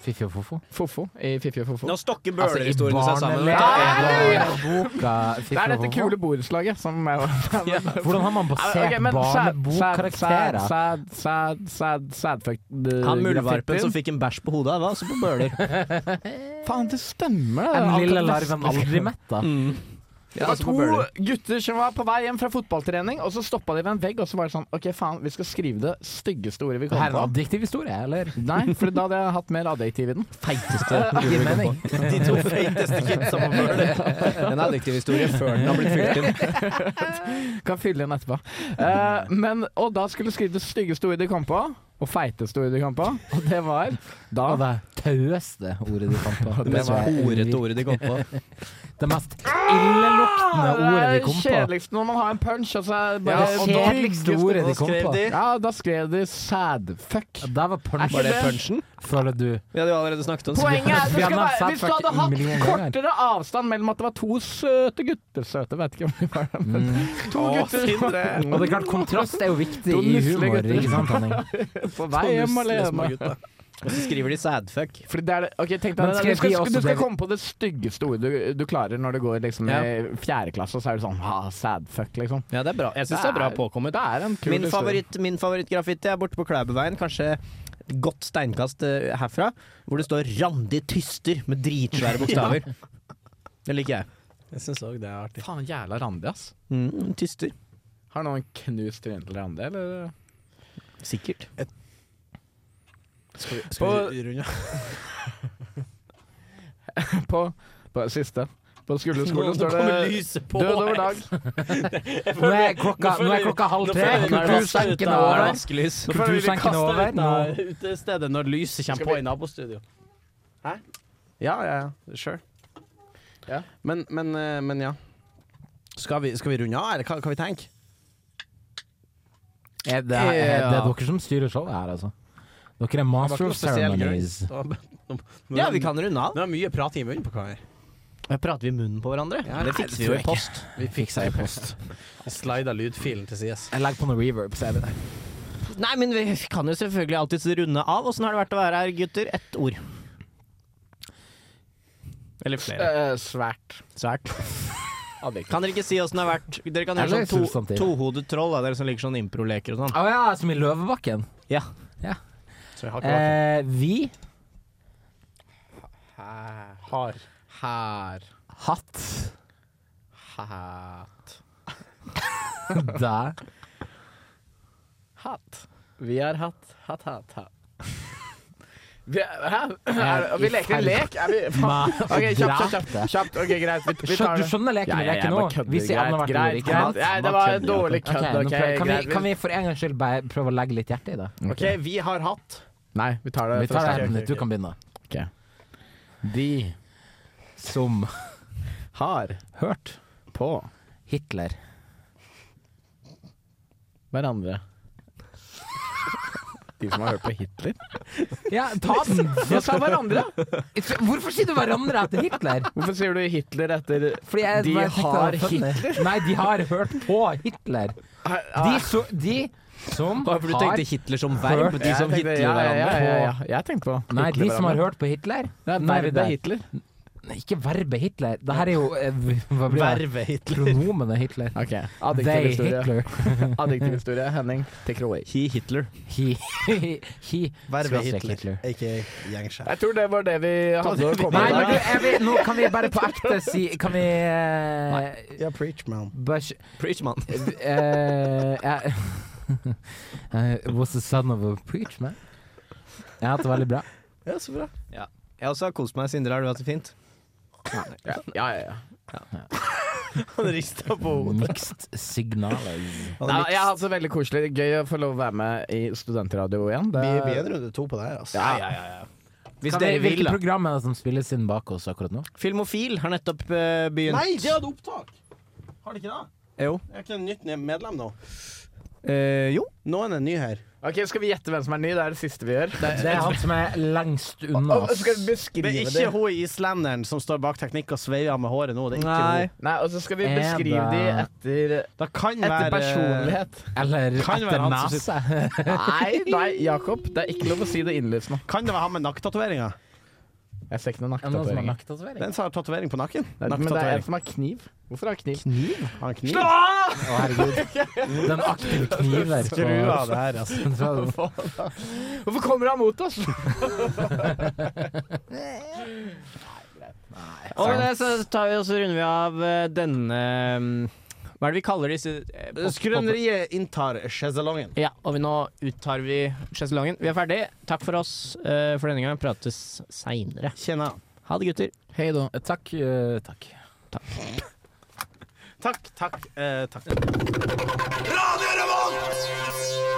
[SPEAKER 3] Fiffi og Fofo.
[SPEAKER 4] Fofo i Fiffi og Fofo.
[SPEAKER 1] Nå stokker
[SPEAKER 3] Altså, i
[SPEAKER 1] bølerhistoriene seg sammen. vet du.
[SPEAKER 3] barneboka Fiffi
[SPEAKER 4] Det er
[SPEAKER 3] og
[SPEAKER 4] dette
[SPEAKER 3] Fofo.
[SPEAKER 4] kule borettslaget som er
[SPEAKER 3] Hvordan har man
[SPEAKER 4] Ja,
[SPEAKER 3] basert
[SPEAKER 4] ok, men sad- sad-
[SPEAKER 3] barnebokkarakterer?
[SPEAKER 4] Sad, sad, sad, sadfuck
[SPEAKER 1] Han muldvarpen som fikk en bæsj på hodet, var altså på bøler.
[SPEAKER 4] Faen, det stemmer, det.
[SPEAKER 3] Den
[SPEAKER 4] Alt
[SPEAKER 3] lille
[SPEAKER 4] det
[SPEAKER 3] larven
[SPEAKER 4] beste-
[SPEAKER 3] Aldrimetta.
[SPEAKER 1] Mm.
[SPEAKER 4] Det var to gutter som var på vei hjem fra fotballtrening, og så stoppa de ved en vegg, og så var det sånn OK, faen, vi skal skrive det styggeste ordet vi
[SPEAKER 3] Det her
[SPEAKER 4] kommer
[SPEAKER 3] er en
[SPEAKER 4] på.
[SPEAKER 3] adjektiv historie, eller?
[SPEAKER 4] Nei, for da hadde jeg hatt mer adjektiv i den.
[SPEAKER 1] Feiteste
[SPEAKER 3] Gir mening.
[SPEAKER 2] De to feiteste kidsa på Bøler.
[SPEAKER 1] En adjektivhistorie før den har blitt fylt inn.
[SPEAKER 4] Kan fylle inn etterpå. Eh, men, og da skulle du skrive det styggeste ordet de kom på, og feiteste ordet de kom på, og det var da
[SPEAKER 3] Og det taueste ordet du fant på.
[SPEAKER 1] Det mest
[SPEAKER 3] var
[SPEAKER 1] horete ordet de kom på.
[SPEAKER 3] Det mest illeluktende ordet de
[SPEAKER 4] Ah, Det er
[SPEAKER 3] kom på.
[SPEAKER 4] kjedeligst når man har en punch, og så er det
[SPEAKER 3] Ja,
[SPEAKER 4] bare
[SPEAKER 3] det kjedeligste ordet de kom på.
[SPEAKER 4] Ja, da skrev de sadfuck.
[SPEAKER 3] Der var punch.
[SPEAKER 1] Var det punchen?
[SPEAKER 3] Føler du
[SPEAKER 1] Vi hadde jo allerede snakket om
[SPEAKER 4] Poenget er at det
[SPEAKER 3] Vi
[SPEAKER 4] skal
[SPEAKER 3] har
[SPEAKER 4] være,
[SPEAKER 3] sagt
[SPEAKER 4] hvis du hadde
[SPEAKER 3] fuck million
[SPEAKER 4] hatt
[SPEAKER 3] ganger.
[SPEAKER 4] kortere avstand mellom at det var to søte gutter Søte, vet ikke om de var det, men to gutter
[SPEAKER 3] Mm. Og det er klart, kontrast er jo viktig
[SPEAKER 4] To
[SPEAKER 3] i
[SPEAKER 4] nusselige
[SPEAKER 3] humor,
[SPEAKER 4] gutter.
[SPEAKER 3] ikke sant, Henning?
[SPEAKER 4] på vei hjem alene.
[SPEAKER 1] Og så skriver de sadfuck.
[SPEAKER 4] Fordi det er det, ok, tenk deg,
[SPEAKER 3] Men
[SPEAKER 4] det,
[SPEAKER 3] skrev
[SPEAKER 4] du skal,
[SPEAKER 3] de også
[SPEAKER 4] du skal
[SPEAKER 3] det-
[SPEAKER 4] komme på det styggeste ordet du, du klarer når du går liksom,
[SPEAKER 1] Ja.
[SPEAKER 4] i fjerde klasse, og så er du sånn ah, sadfuck, liksom.
[SPEAKER 1] Ja, det er bra. Jeg syns det er bra påkommet.
[SPEAKER 4] Det er en kul
[SPEAKER 1] Min
[SPEAKER 4] historie.
[SPEAKER 1] favoritt, min favorittgraffiti er borte på Klæbuveien, kanskje et godt steinkast eh, herfra, hvor det står 'Randi Tyster' med dritsvære bokstaver. Det liker jeg.
[SPEAKER 2] Jeg syns òg det er artig.
[SPEAKER 4] Faen jævla Randi, ass.
[SPEAKER 1] Mm, tyster.
[SPEAKER 4] Har noen knust trynet til Randi, eller?
[SPEAKER 1] Sikkert.
[SPEAKER 2] Skal vi,
[SPEAKER 4] På-
[SPEAKER 2] vi runde av?
[SPEAKER 4] På, på siste. På skulderskole
[SPEAKER 2] Nå- nå
[SPEAKER 4] står
[SPEAKER 2] kommer
[SPEAKER 4] det
[SPEAKER 2] lyset på
[SPEAKER 4] Død over
[SPEAKER 2] her.
[SPEAKER 4] dag.
[SPEAKER 3] Nå er klokka, nå er klokka halv
[SPEAKER 2] Nå
[SPEAKER 3] tre,
[SPEAKER 2] føler jeg- Nå
[SPEAKER 3] kultursenken er
[SPEAKER 1] Da er det
[SPEAKER 3] over.
[SPEAKER 1] vaskelys.
[SPEAKER 2] Nå føler vi vi
[SPEAKER 3] Kultursenken
[SPEAKER 2] kaster
[SPEAKER 3] over.
[SPEAKER 2] ut av utestedet når lyset kommer på i nabostudio. Hæ? Ja, ja, ja. Sure.
[SPEAKER 4] Ja.
[SPEAKER 2] Men, men, eh, men ja. Skal vi, skal vi runde av, eller hva kan vi tenke?
[SPEAKER 3] Er Eh, det, er det dere som styrer showet her, altså? Dere er master of ceremonies.
[SPEAKER 1] Ja, vi kan runde av.
[SPEAKER 2] Nå er mye prating i munnen på hverandre.
[SPEAKER 1] Prater vi i munnen på hverandre?
[SPEAKER 2] Ja,
[SPEAKER 1] det
[SPEAKER 2] nei,
[SPEAKER 1] fikser vi
[SPEAKER 2] det tror
[SPEAKER 1] jo i
[SPEAKER 2] jeg
[SPEAKER 1] post.
[SPEAKER 2] Vi fiksa i post. Vi slida lydfilen til sides.
[SPEAKER 3] Jeg legger på noe reverb, så er vi der.
[SPEAKER 1] Nei, men vi kan jo selvfølgelig alltids runde av. Åssen har det vært å være her, gutter? Ett ord. Eller flere.
[SPEAKER 4] Eh, svært.
[SPEAKER 1] Svært.
[SPEAKER 4] Adjektiv.
[SPEAKER 1] Kan dere ikke si åssen det har vært? Dere kan gjøre
[SPEAKER 3] Eller
[SPEAKER 1] sånn to,
[SPEAKER 3] substantiv.
[SPEAKER 1] tohodet troll, da, dere som liker sånn improleker og sånn.
[SPEAKER 3] Å ja, som i Løvebakken.
[SPEAKER 1] Ja.
[SPEAKER 2] Så jeg har ikke vært
[SPEAKER 3] Eh, vi
[SPEAKER 4] Har.
[SPEAKER 2] her.
[SPEAKER 3] hatt
[SPEAKER 2] Hat.
[SPEAKER 3] deg
[SPEAKER 4] Hatt. Vi har hatt hatt, hatt, hatt. Vi, er, hæ? Er, vi leker en lek? Er vi,
[SPEAKER 3] med
[SPEAKER 4] OK, kjapt, kjapt,
[SPEAKER 3] dræte.
[SPEAKER 4] kjapt. kjapt. OK, greit. Vi, vi
[SPEAKER 3] Skjønner-
[SPEAKER 4] tar
[SPEAKER 3] Du
[SPEAKER 4] det.
[SPEAKER 3] skjønner leken
[SPEAKER 4] Ja,
[SPEAKER 3] vi
[SPEAKER 4] ja, jeg
[SPEAKER 3] leker nå?
[SPEAKER 4] bare kødder.
[SPEAKER 3] Vi sier
[SPEAKER 4] Greit,
[SPEAKER 3] annethvert ord,
[SPEAKER 4] greit,
[SPEAKER 3] ikke
[SPEAKER 4] greit.
[SPEAKER 3] sant?
[SPEAKER 4] Nei, det var
[SPEAKER 3] Annethvert
[SPEAKER 4] en
[SPEAKER 3] ord.
[SPEAKER 4] dårlig kødd.
[SPEAKER 3] Ok, nå
[SPEAKER 4] OK,
[SPEAKER 3] prøver- kan,
[SPEAKER 4] greit.
[SPEAKER 3] vi, kan vi for en gangs skyld bare prøve å legge litt hjerte i det?
[SPEAKER 2] OK, vi har hatt
[SPEAKER 4] Nei, vi tar det.
[SPEAKER 3] Vi tar
[SPEAKER 4] fra
[SPEAKER 3] det
[SPEAKER 4] starten.
[SPEAKER 3] Henrik, du kan begynne.
[SPEAKER 4] Ok.
[SPEAKER 3] De som
[SPEAKER 4] Har hørt på
[SPEAKER 3] Hitler
[SPEAKER 4] hverandre. De som har hørt på Hitler?
[SPEAKER 3] Ja, ta den!
[SPEAKER 4] Jeg sa hverandre!
[SPEAKER 3] Hvorfor sier du hverandre etter Hitler?
[SPEAKER 4] Hvorfor sier du Hitler etter
[SPEAKER 3] Fordi jeg,
[SPEAKER 4] De
[SPEAKER 3] bare tenkte det
[SPEAKER 4] har
[SPEAKER 3] var funny. Nei, de har hørt på Hitler. De, så, de som
[SPEAKER 1] Bare for du
[SPEAKER 3] har
[SPEAKER 1] tenkte Hitler som verb, de som
[SPEAKER 4] Hitler
[SPEAKER 1] hitler hverandre.
[SPEAKER 4] Ja, ja, ja, ja. Jeg tenkte på
[SPEAKER 3] Nei, de som har hørt på Hitler
[SPEAKER 4] Det er
[SPEAKER 3] Nå er vi
[SPEAKER 4] verbet
[SPEAKER 3] der.
[SPEAKER 4] Hitler.
[SPEAKER 3] Nei, Ikke verbet Hitler. Det her er jo eh, Hva blir det?
[SPEAKER 1] Verve Hitler.
[SPEAKER 3] Pronomenet Hitler.
[SPEAKER 4] Ok,
[SPEAKER 3] They
[SPEAKER 4] Adjektivhistorie.
[SPEAKER 3] Hitler.
[SPEAKER 4] Adjektivhistorie. Henning, take it away.
[SPEAKER 1] He Hitler.
[SPEAKER 3] He, he, he skråstrek Hitler.
[SPEAKER 2] Ikke gjengsjef.
[SPEAKER 4] Jeg tror det var det vi hadde å komme
[SPEAKER 3] Nei, men du,
[SPEAKER 4] med.
[SPEAKER 3] jeg vil, nå kan vi bare på ekte si Kan vi eh,
[SPEAKER 2] Ja, preach, man.
[SPEAKER 3] bare sk-
[SPEAKER 1] Preach, man.
[SPEAKER 3] Eh, jeg- I was the son of a preach man. Jeg har hatt det veldig bra.
[SPEAKER 2] Ja, så bra.
[SPEAKER 1] Jeg også har kost meg. Sindre, har du hatt det fint?
[SPEAKER 4] Ja, ja, ja.
[SPEAKER 2] Han rista på hodet.
[SPEAKER 3] Mixed signalers.
[SPEAKER 4] Nei, jeg har hatt det veldig koselig. Gøy å få lov å være med i studentradio igjen. Det-
[SPEAKER 2] Vi, vi er en runde to på det her, altså.
[SPEAKER 4] Ja, ja.
[SPEAKER 1] Hvis
[SPEAKER 3] Kan vi-
[SPEAKER 1] dere vil,
[SPEAKER 3] Hvilke
[SPEAKER 1] da.
[SPEAKER 3] program er det som spilles inn bak oss akkurat
[SPEAKER 2] Eh,
[SPEAKER 3] nå?
[SPEAKER 1] Filmofil har nettopp eh, begynt.
[SPEAKER 2] Nei, de hadde opptak! Har de ikke det?
[SPEAKER 1] Jo.
[SPEAKER 2] Jeg er ikke en nytt medlem nå.
[SPEAKER 1] Eh, jo.
[SPEAKER 2] Noen er ny her.
[SPEAKER 4] Ok, Skal vi gjette hvem som er ny? Det er det siste vi gjør.
[SPEAKER 3] Det er han som er lengst unna
[SPEAKER 4] Og- og
[SPEAKER 3] oss.
[SPEAKER 4] skal vi beskrive
[SPEAKER 2] Det er ikke hun islenderen som står bak teknikk og sveiver med håret nå. Det er ikke
[SPEAKER 1] Nei.
[SPEAKER 2] hun.
[SPEAKER 4] Nei, og så skal vi
[SPEAKER 3] Er
[SPEAKER 4] beskrive de etter,
[SPEAKER 2] Det kan være
[SPEAKER 4] etter personlighet.
[SPEAKER 3] Eller
[SPEAKER 2] Kan være
[SPEAKER 3] etter
[SPEAKER 2] han som
[SPEAKER 3] nese.
[SPEAKER 4] Nei, nei, Jakob. Det er ikke lov å si det innlysende.
[SPEAKER 2] Kan det være han med nakketatoveringer?
[SPEAKER 4] Jeg ser ikke noen
[SPEAKER 3] Er det noen som har
[SPEAKER 4] nakketatoveringer.
[SPEAKER 2] Det er
[SPEAKER 3] nakketatovering?
[SPEAKER 2] en som har tatovering på nakken.
[SPEAKER 4] Men det er en
[SPEAKER 2] Nakketatovering.
[SPEAKER 4] som har kniv. Hvorfor har han kniv?
[SPEAKER 2] Kniv? Har han kniv?
[SPEAKER 3] Å, herregud. Den aktive kniver. på-
[SPEAKER 2] Skru av det her, altså.
[SPEAKER 4] Hvorfor kommer han mot oss?
[SPEAKER 1] Og med det så tar vi og så runder vi av eh, denne mm, Hva er det vi kaller disse eh, pop-
[SPEAKER 2] Skrøneriet inntar sjeselongen.
[SPEAKER 1] pop- Ja, og vi nå uttar vi sjeselongen. Vi er ferdig. Takk for oss eh, for denne gang. Prates seinere.
[SPEAKER 2] Kjenner.
[SPEAKER 1] Ha det, gutter.
[SPEAKER 3] Hei da. Takk. eh, takk.
[SPEAKER 2] Takk, takk, eh, takk.
[SPEAKER 6] Radio Revolt!